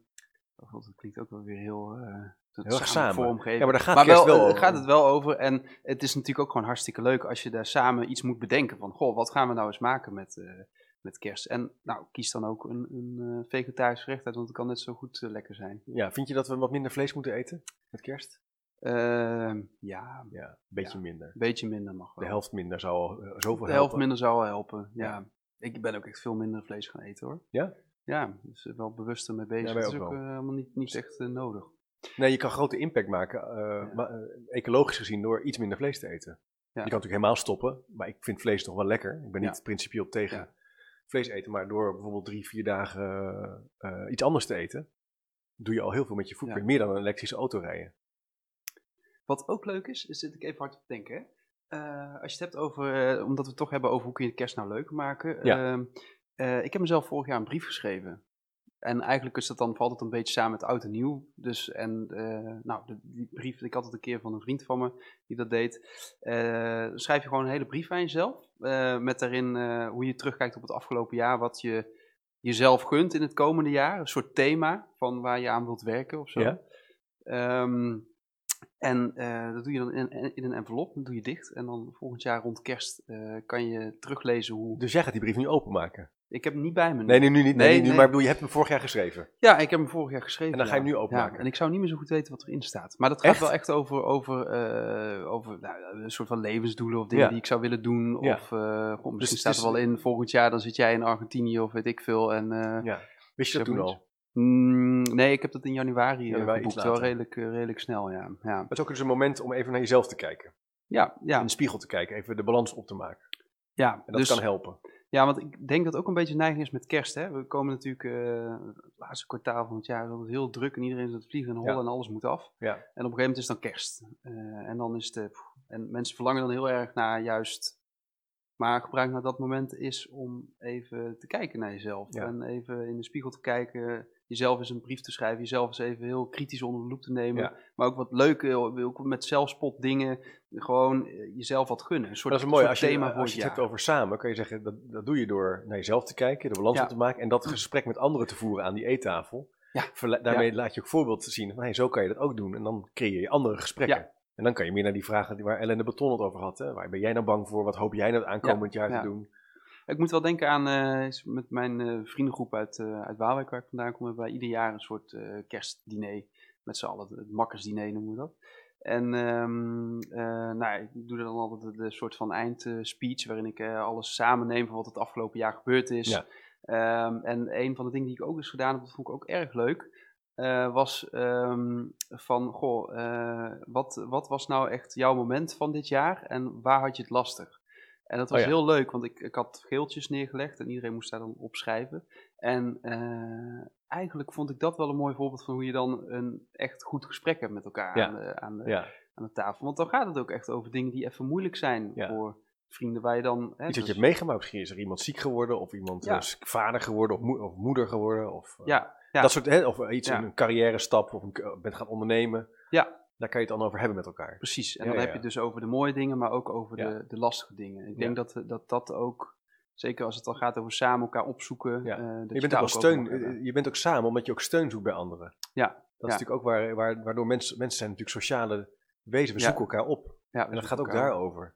[SPEAKER 2] oh god, dat klinkt ook wel weer heel, eh, dat
[SPEAKER 1] Heel erg samen.
[SPEAKER 2] vormgeven.
[SPEAKER 1] Ja, maar daar gaat
[SPEAKER 2] maar
[SPEAKER 1] kerst
[SPEAKER 2] wel,
[SPEAKER 1] wel
[SPEAKER 2] eh,
[SPEAKER 1] over.
[SPEAKER 2] gaat het wel over. En het is natuurlijk ook gewoon hartstikke leuk als je daar samen iets moet bedenken. Van, goh, wat gaan we nou eens maken met, eh, met kerst? En nou, kies dan ook een, een eh, vegetarisch gerecht uit, want het kan net zo goed eh, lekker zijn.
[SPEAKER 1] Ja, vind je dat we wat minder vlees moeten eten met kerst?
[SPEAKER 2] Ehm, ja, een
[SPEAKER 1] Ja, een beetje minder.
[SPEAKER 2] beetje minder mag wel.
[SPEAKER 1] De helft minder zou al eh, zoveel
[SPEAKER 2] De helft
[SPEAKER 1] helpen.
[SPEAKER 2] minder zou wel helpen, ja. Ik ben ook echt veel minder vlees gaan eten hoor.
[SPEAKER 1] Ja?
[SPEAKER 2] Ja, dus eh, wel bewust ermee bezig.
[SPEAKER 1] Ja, wij
[SPEAKER 2] dat is
[SPEAKER 1] ook
[SPEAKER 2] ook
[SPEAKER 1] wel.
[SPEAKER 2] eh, helemaal niet, niet echt eh, nodig.
[SPEAKER 1] Nee, je kan grote impact maken, eh, maar, eh, ecologisch gezien, door iets minder vlees te eten. Je kan natuurlijk helemaal stoppen, maar ik vind vlees nog wel lekker. Ik ben niet principieel tegen
[SPEAKER 2] Ja.
[SPEAKER 1] vlees eten, maar door bijvoorbeeld drie, vier dagen eh, eh, iets anders te eten, doe je al heel veel met je footprint. Meer dan een elektrische auto rijden.
[SPEAKER 2] Wat ook leuk is, is zit ik even hard op te denken. hè. Eh, als je het hebt over, eh, omdat we het toch hebben over hoe kun je kerst nou leuk maken.
[SPEAKER 1] Ja.
[SPEAKER 2] Ehm, eh, ik heb mezelf vorig jaar een brief geschreven. En eigenlijk is dat dan, valt het een beetje samen met oud en nieuw. Dus, en eh, nou, de- die brief, ik had het een keer van een vriend van me die dat deed. Eh, dan schrijf je gewoon een hele brief aan jezelf. eh, met daarin eh, hoe je terugkijkt op het afgelopen jaar. Wat je jezelf gunt in het komende jaar. Een soort thema van waar je aan wilt werken of zo.
[SPEAKER 1] Ja.
[SPEAKER 2] Ehm, en eh, dat doe je dan in, in een envelop, dat doe je dicht. En dan volgend jaar rond kerst eh, kan je teruglezen hoe...
[SPEAKER 1] Dus jij gaat die brief nu openmaken?
[SPEAKER 2] Ik heb hem niet bij me. nu.
[SPEAKER 1] Nee, nee nu niet. Nee,
[SPEAKER 2] Mm. Nee,
[SPEAKER 1] nu,
[SPEAKER 2] nee.
[SPEAKER 1] maar ik bedoel, je hebt hem vorig jaar geschreven.
[SPEAKER 2] Ja, ik heb hem vorig jaar geschreven.
[SPEAKER 1] En dan ga je
[SPEAKER 2] ja.
[SPEAKER 1] hem nu openmaken.
[SPEAKER 2] Ja, en ik zou niet meer zo goed weten wat erin staat. Maar dat gaat
[SPEAKER 1] Echt?
[SPEAKER 2] wel echt over, over, eh, over nou, een soort van levensdoelen of dingen
[SPEAKER 1] Ja.
[SPEAKER 2] die ik zou willen doen.
[SPEAKER 1] Ja. Dus
[SPEAKER 2] Of eh, goh, misschien
[SPEAKER 1] het
[SPEAKER 2] staat
[SPEAKER 1] is-
[SPEAKER 2] er wel in volgend jaar, dan zit jij in Argentinië of weet ik veel. En, eh,
[SPEAKER 1] Ja. Wist je dat toen
[SPEAKER 2] Zeg maar
[SPEAKER 1] al?
[SPEAKER 2] mm, nee, ik heb dat in januari, eh,
[SPEAKER 1] Januari, iets
[SPEAKER 2] geboekt. Wel
[SPEAKER 1] later.
[SPEAKER 2] redelijk, eh, redelijk snel, ja. Ja,
[SPEAKER 1] Het is ook dus een moment om even naar jezelf te kijken.
[SPEAKER 2] ja,
[SPEAKER 1] In
[SPEAKER 2] ja.
[SPEAKER 1] de spiegel te kijken, even de balans op te maken.
[SPEAKER 2] ja.
[SPEAKER 1] En dat
[SPEAKER 2] dus-
[SPEAKER 1] kan helpen.
[SPEAKER 2] Ja, want ik denk dat ook een beetje neiging is met kerst. Hè? We komen natuurlijk eh, het laatste kwartaal van het jaar is altijd heel druk en iedereen is aan het vliegen en hollen
[SPEAKER 1] Ja.
[SPEAKER 2] en alles moet af.
[SPEAKER 1] Ja.
[SPEAKER 2] En op een gegeven moment is dan kerst. Eh, en dan is het. eh, pff, en mensen verlangen dan heel erg naar juist. Maar gebruik nou dat moment is om even te kijken naar jezelf.
[SPEAKER 1] Ja.
[SPEAKER 2] En even in de spiegel te kijken. Jezelf eens een brief te schrijven. Jezelf eens even heel kritisch onder de loep te nemen.
[SPEAKER 1] Ja.
[SPEAKER 2] Maar ook wat leuke, ook met zelfspot dingen. Gewoon eh, jezelf wat gunnen. Een soort,
[SPEAKER 1] Maar dat is mooi.
[SPEAKER 2] soort
[SPEAKER 1] Als je,
[SPEAKER 2] thema
[SPEAKER 1] als
[SPEAKER 2] voor
[SPEAKER 1] je het
[SPEAKER 2] jaar.
[SPEAKER 1] hebt over samen, kan je zeggen, dat, dat doe je door naar jezelf te kijken, de balans
[SPEAKER 2] Ja.
[SPEAKER 1] op te maken en dat gesprek met anderen te voeren aan die eettafel.
[SPEAKER 2] Ja.
[SPEAKER 1] Verle- Daarmee laat je ook voorbeeld zien van, hey, zo kan je dat ook doen. En dan creëer je andere gesprekken.
[SPEAKER 2] Ja.
[SPEAKER 1] En dan kan je meer naar die vragen die- waar Ellen de Beton het over had. Hè? Waar ben jij nou bang voor? Wat hoop jij nou het aankomend jaar
[SPEAKER 2] ja.
[SPEAKER 1] te doen?
[SPEAKER 2] Ik moet wel denken aan eh, is met mijn eh, vriendengroep uit, eh uit Waalwijk, waar ik vandaan kom, hebben wij ieder jaar een soort eh, kerstdiner met z'n allen. Het makkersdiner noemen we dat. En ehm, eh, nou, ja, ik doe er dan altijd de, de soort van eindspeech, waarin ik eh, alles samenneem van wat het afgelopen jaar gebeurd is.
[SPEAKER 1] Ja.
[SPEAKER 2] Ehm, en een van de dingen die ik ook eens gedaan heb, dat vond ik ook erg leuk, eh, was ehm, van, goh, eh, wat, wat was nou echt jouw moment van dit jaar en waar had je het lastig? En dat was
[SPEAKER 1] Oh ja.
[SPEAKER 2] heel leuk, want ik, ik had geeltjes neergelegd en iedereen moest daar dan opschrijven. En eh, eigenlijk vond ik dat wel een mooi voorbeeld van hoe je dan een echt goed gesprek hebt met elkaar
[SPEAKER 1] Ja.
[SPEAKER 2] aan, de, aan, de,
[SPEAKER 1] Ja.
[SPEAKER 2] aan de tafel. Want dan gaat het ook echt over dingen die even moeilijk zijn
[SPEAKER 1] Ja.
[SPEAKER 2] voor vrienden waar je dan... Hè,
[SPEAKER 1] Iets
[SPEAKER 2] dus-
[SPEAKER 1] wat je hebt meegemaakt. Misschien is er iemand ziek geworden of iemand
[SPEAKER 2] Ja.
[SPEAKER 1] eh, vader geworden of, moe- of moeder geworden. Of, eh,
[SPEAKER 2] ja, ja,
[SPEAKER 1] Dat soort, hè? of eh, iets,
[SPEAKER 2] Ja.
[SPEAKER 1] een carrière stap of een, k- bent gaan ondernemen.
[SPEAKER 2] Ja.
[SPEAKER 1] Daar kan je het dan over hebben met elkaar.
[SPEAKER 2] precies. En
[SPEAKER 1] Ja,
[SPEAKER 2] dan
[SPEAKER 1] ja,
[SPEAKER 2] heb je
[SPEAKER 1] ja.
[SPEAKER 2] het dus over de mooie dingen, maar ook over
[SPEAKER 1] Ja.
[SPEAKER 2] de, de lastige dingen. Ik
[SPEAKER 1] Ja.
[SPEAKER 2] denk dat, eh, dat dat ook, zeker als het dan gaat over samen elkaar opzoeken...
[SPEAKER 1] Ja.
[SPEAKER 2] eh, dat
[SPEAKER 1] Je bent ook
[SPEAKER 2] daar
[SPEAKER 1] wel
[SPEAKER 2] ook over
[SPEAKER 1] steun. eh,
[SPEAKER 2] moet hebben.
[SPEAKER 1] Je bent ook samen omdat je ook steun zoekt bij anderen.
[SPEAKER 2] Ja,
[SPEAKER 1] Dat is natuurlijk ook waar, waar, waardoor mensen, mensen zijn natuurlijk sociale wezens. We
[SPEAKER 2] Ja.
[SPEAKER 1] zoeken elkaar op.
[SPEAKER 2] Ja,
[SPEAKER 1] En dat
[SPEAKER 2] dus
[SPEAKER 1] gaat ook
[SPEAKER 2] elkaar-
[SPEAKER 1] daarover.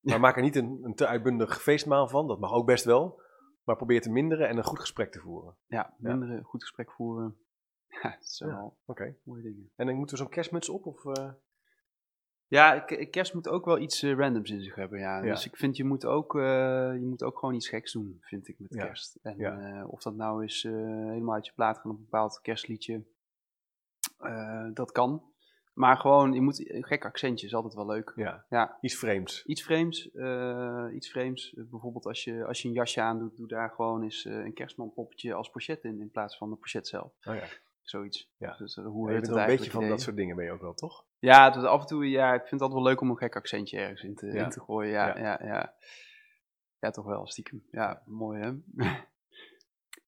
[SPEAKER 1] Maar maak er niet een, een te uitbundig feestmaal van. Dat mag ook best wel. Maar probeer te minderen en een goed gesprek te voeren.
[SPEAKER 2] Ja,
[SPEAKER 1] Ja.
[SPEAKER 2] minderen, goed gesprek voeren. Ja, dat zijn
[SPEAKER 1] Ja.
[SPEAKER 2] wel
[SPEAKER 1] Oké.
[SPEAKER 2] mooie dingen.
[SPEAKER 1] En dan moeten we zo'n kerstmuts op? Of, eh,
[SPEAKER 2] Ja, k- kerst moet ook wel iets eh, randoms in zich hebben, ja.
[SPEAKER 1] Ja.
[SPEAKER 2] Dus ik vind, je moet, ook, eh, je moet ook gewoon iets geks doen, vind ik, met
[SPEAKER 1] Ja.
[SPEAKER 2] kerst. En
[SPEAKER 1] Ja.
[SPEAKER 2] eh, of dat nou is eh, helemaal uit je plaat gaan op een bepaald kerstliedje, eh, dat kan. Maar gewoon, je moet, een gek accentje is altijd wel leuk.
[SPEAKER 1] Ja,
[SPEAKER 2] Ja.
[SPEAKER 1] iets vreemds.
[SPEAKER 2] Iets vreemds, eh, iets vreemds. Eh, Bijvoorbeeld als je, als je een jasje aandoet, doe daar gewoon eens eh, een kerstmanpoppetje als pochet in, in plaats van de pochet zelf.
[SPEAKER 1] Oh ja.
[SPEAKER 2] Zoiets.
[SPEAKER 1] Ja.
[SPEAKER 2] Dus, eh, hoe
[SPEAKER 1] Je
[SPEAKER 2] heet
[SPEAKER 1] bent er
[SPEAKER 2] het
[SPEAKER 1] een beetje
[SPEAKER 2] eigenlijk?
[SPEAKER 1] van
[SPEAKER 2] Nee.
[SPEAKER 1] dat soort dingen mee ook wel, toch?
[SPEAKER 2] Ja, dus af en toe, ja, ik vind het altijd wel leuk om een gek accentje ergens in te,
[SPEAKER 1] Ja.
[SPEAKER 2] in te gooien. Ja,
[SPEAKER 1] Ja.
[SPEAKER 2] ja. Ja, ja. toch wel, stiekem. Ja, mooi hè.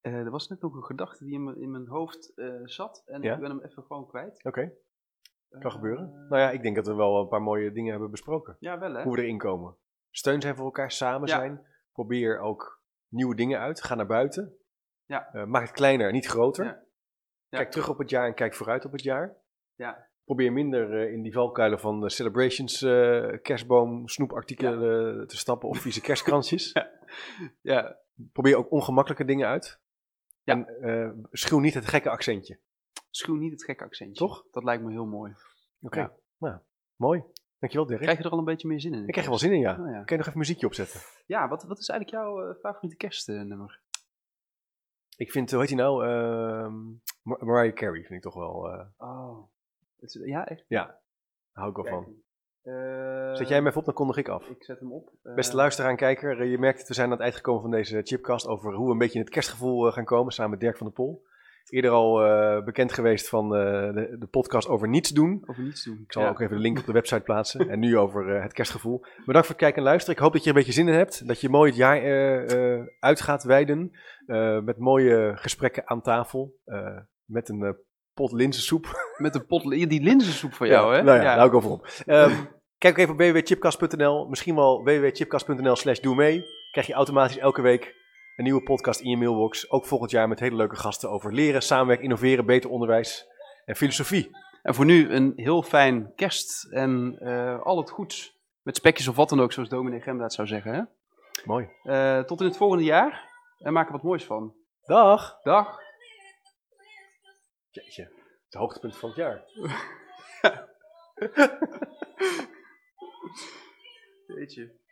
[SPEAKER 2] Eh, er was net nog een gedachte die in, mijn- in mijn hoofd eh, zat en
[SPEAKER 1] Ja?
[SPEAKER 2] ik ben hem even gewoon kwijt.
[SPEAKER 1] Oké, kan
[SPEAKER 2] Eh,
[SPEAKER 1] gebeuren. Nou ja, ik denk dat we wel een paar mooie dingen hebben besproken.
[SPEAKER 2] Ja, wel hè.
[SPEAKER 1] Hoe we erin komen. Steun zijn voor elkaar, samen
[SPEAKER 2] Ja.
[SPEAKER 1] zijn. Probeer ook nieuwe dingen uit. Ga naar buiten.
[SPEAKER 2] Ja.
[SPEAKER 1] Eh, maak het kleiner, niet groter.
[SPEAKER 2] Ja. Ja.
[SPEAKER 1] Kijk terug op het jaar en kijk vooruit op het jaar.
[SPEAKER 2] Ja.
[SPEAKER 1] Probeer minder eh, in die valkuilen van eh, celebrations, eh, kerstboom, snoepartikelen eh, te stappen of vieze kerstkransjes.
[SPEAKER 2] Ja,
[SPEAKER 1] Probeer ook ongemakkelijke dingen uit.
[SPEAKER 2] Ja.
[SPEAKER 1] En eh, schuw niet het gekke accentje.
[SPEAKER 2] schuw niet het gekke accentje.
[SPEAKER 1] Toch?
[SPEAKER 2] Dat lijkt me heel mooi.
[SPEAKER 1] Oké.
[SPEAKER 2] Ja.
[SPEAKER 1] Nou, mooi. Dankjewel Dirk.
[SPEAKER 2] Krijg je er al een beetje meer zin in?
[SPEAKER 1] ik krijg er wel zin in, ja.
[SPEAKER 2] Oh, ja.
[SPEAKER 1] Kun je nog even muziekje opzetten?
[SPEAKER 2] Ja, wat, wat is eigenlijk jouw eh, favoriete kerstnummer?
[SPEAKER 1] Ik vind, hoe heet hij nou? Ehm, Mar- Mariah Carey vind ik toch wel, eh
[SPEAKER 2] Oh, het is- ja, echt.
[SPEAKER 1] daar hou ik wel van.
[SPEAKER 2] Eh,
[SPEAKER 1] Zet jij hem even op, dan kondig ik af.
[SPEAKER 2] Ik zet hem op. Eh,
[SPEAKER 1] Beste luisteraar en kijker, eh, je merkt het, we zijn aan het eind gekomen van deze chipcast over hoe we een beetje in het kerstgevoel eh, gaan komen, samen met Dirk van der Pol. Eerder al eh, bekend geweest van eh, de, de podcast over niets doen.
[SPEAKER 2] Over niets doen.
[SPEAKER 1] Ik zal
[SPEAKER 2] Ja.
[SPEAKER 1] ook even de link op de website plaatsen. En nu over eh, het kerstgevoel. Bedankt voor het kijken en luisteren. Ik hoop dat je er een beetje zin in hebt. Dat je mooi het jaar eh, eh, uit gaat wijden. eh, met mooie gesprekken aan tafel. eh, met een eh, pot linzensoep.
[SPEAKER 2] Met een pot, die linzensoep van jou, hè?
[SPEAKER 1] Nou ja, daar hou ik over op. Ehm, kijk ook even op www.chipcast.nl. Misschien wel www.chipcast.nl slash doe mee. Krijg je automatisch elke week een nieuwe podcast in je mailbox. Ook volgend jaar met hele leuke gasten over leren, samenwerken, innoveren, beter onderwijs en filosofie.
[SPEAKER 2] En voor nu een heel fijn kerst en eh, al het goeds. Met spekjes of wat dan ook, zoals dominee Gemdaad zou zeggen. Hè?
[SPEAKER 1] Mooi.
[SPEAKER 2] Eh, tot in het volgende jaar en maak er wat moois van.
[SPEAKER 1] Dag!
[SPEAKER 2] Dag!
[SPEAKER 1] Jeetje, het hoogtepunt van het jaar.
[SPEAKER 2] Weet je.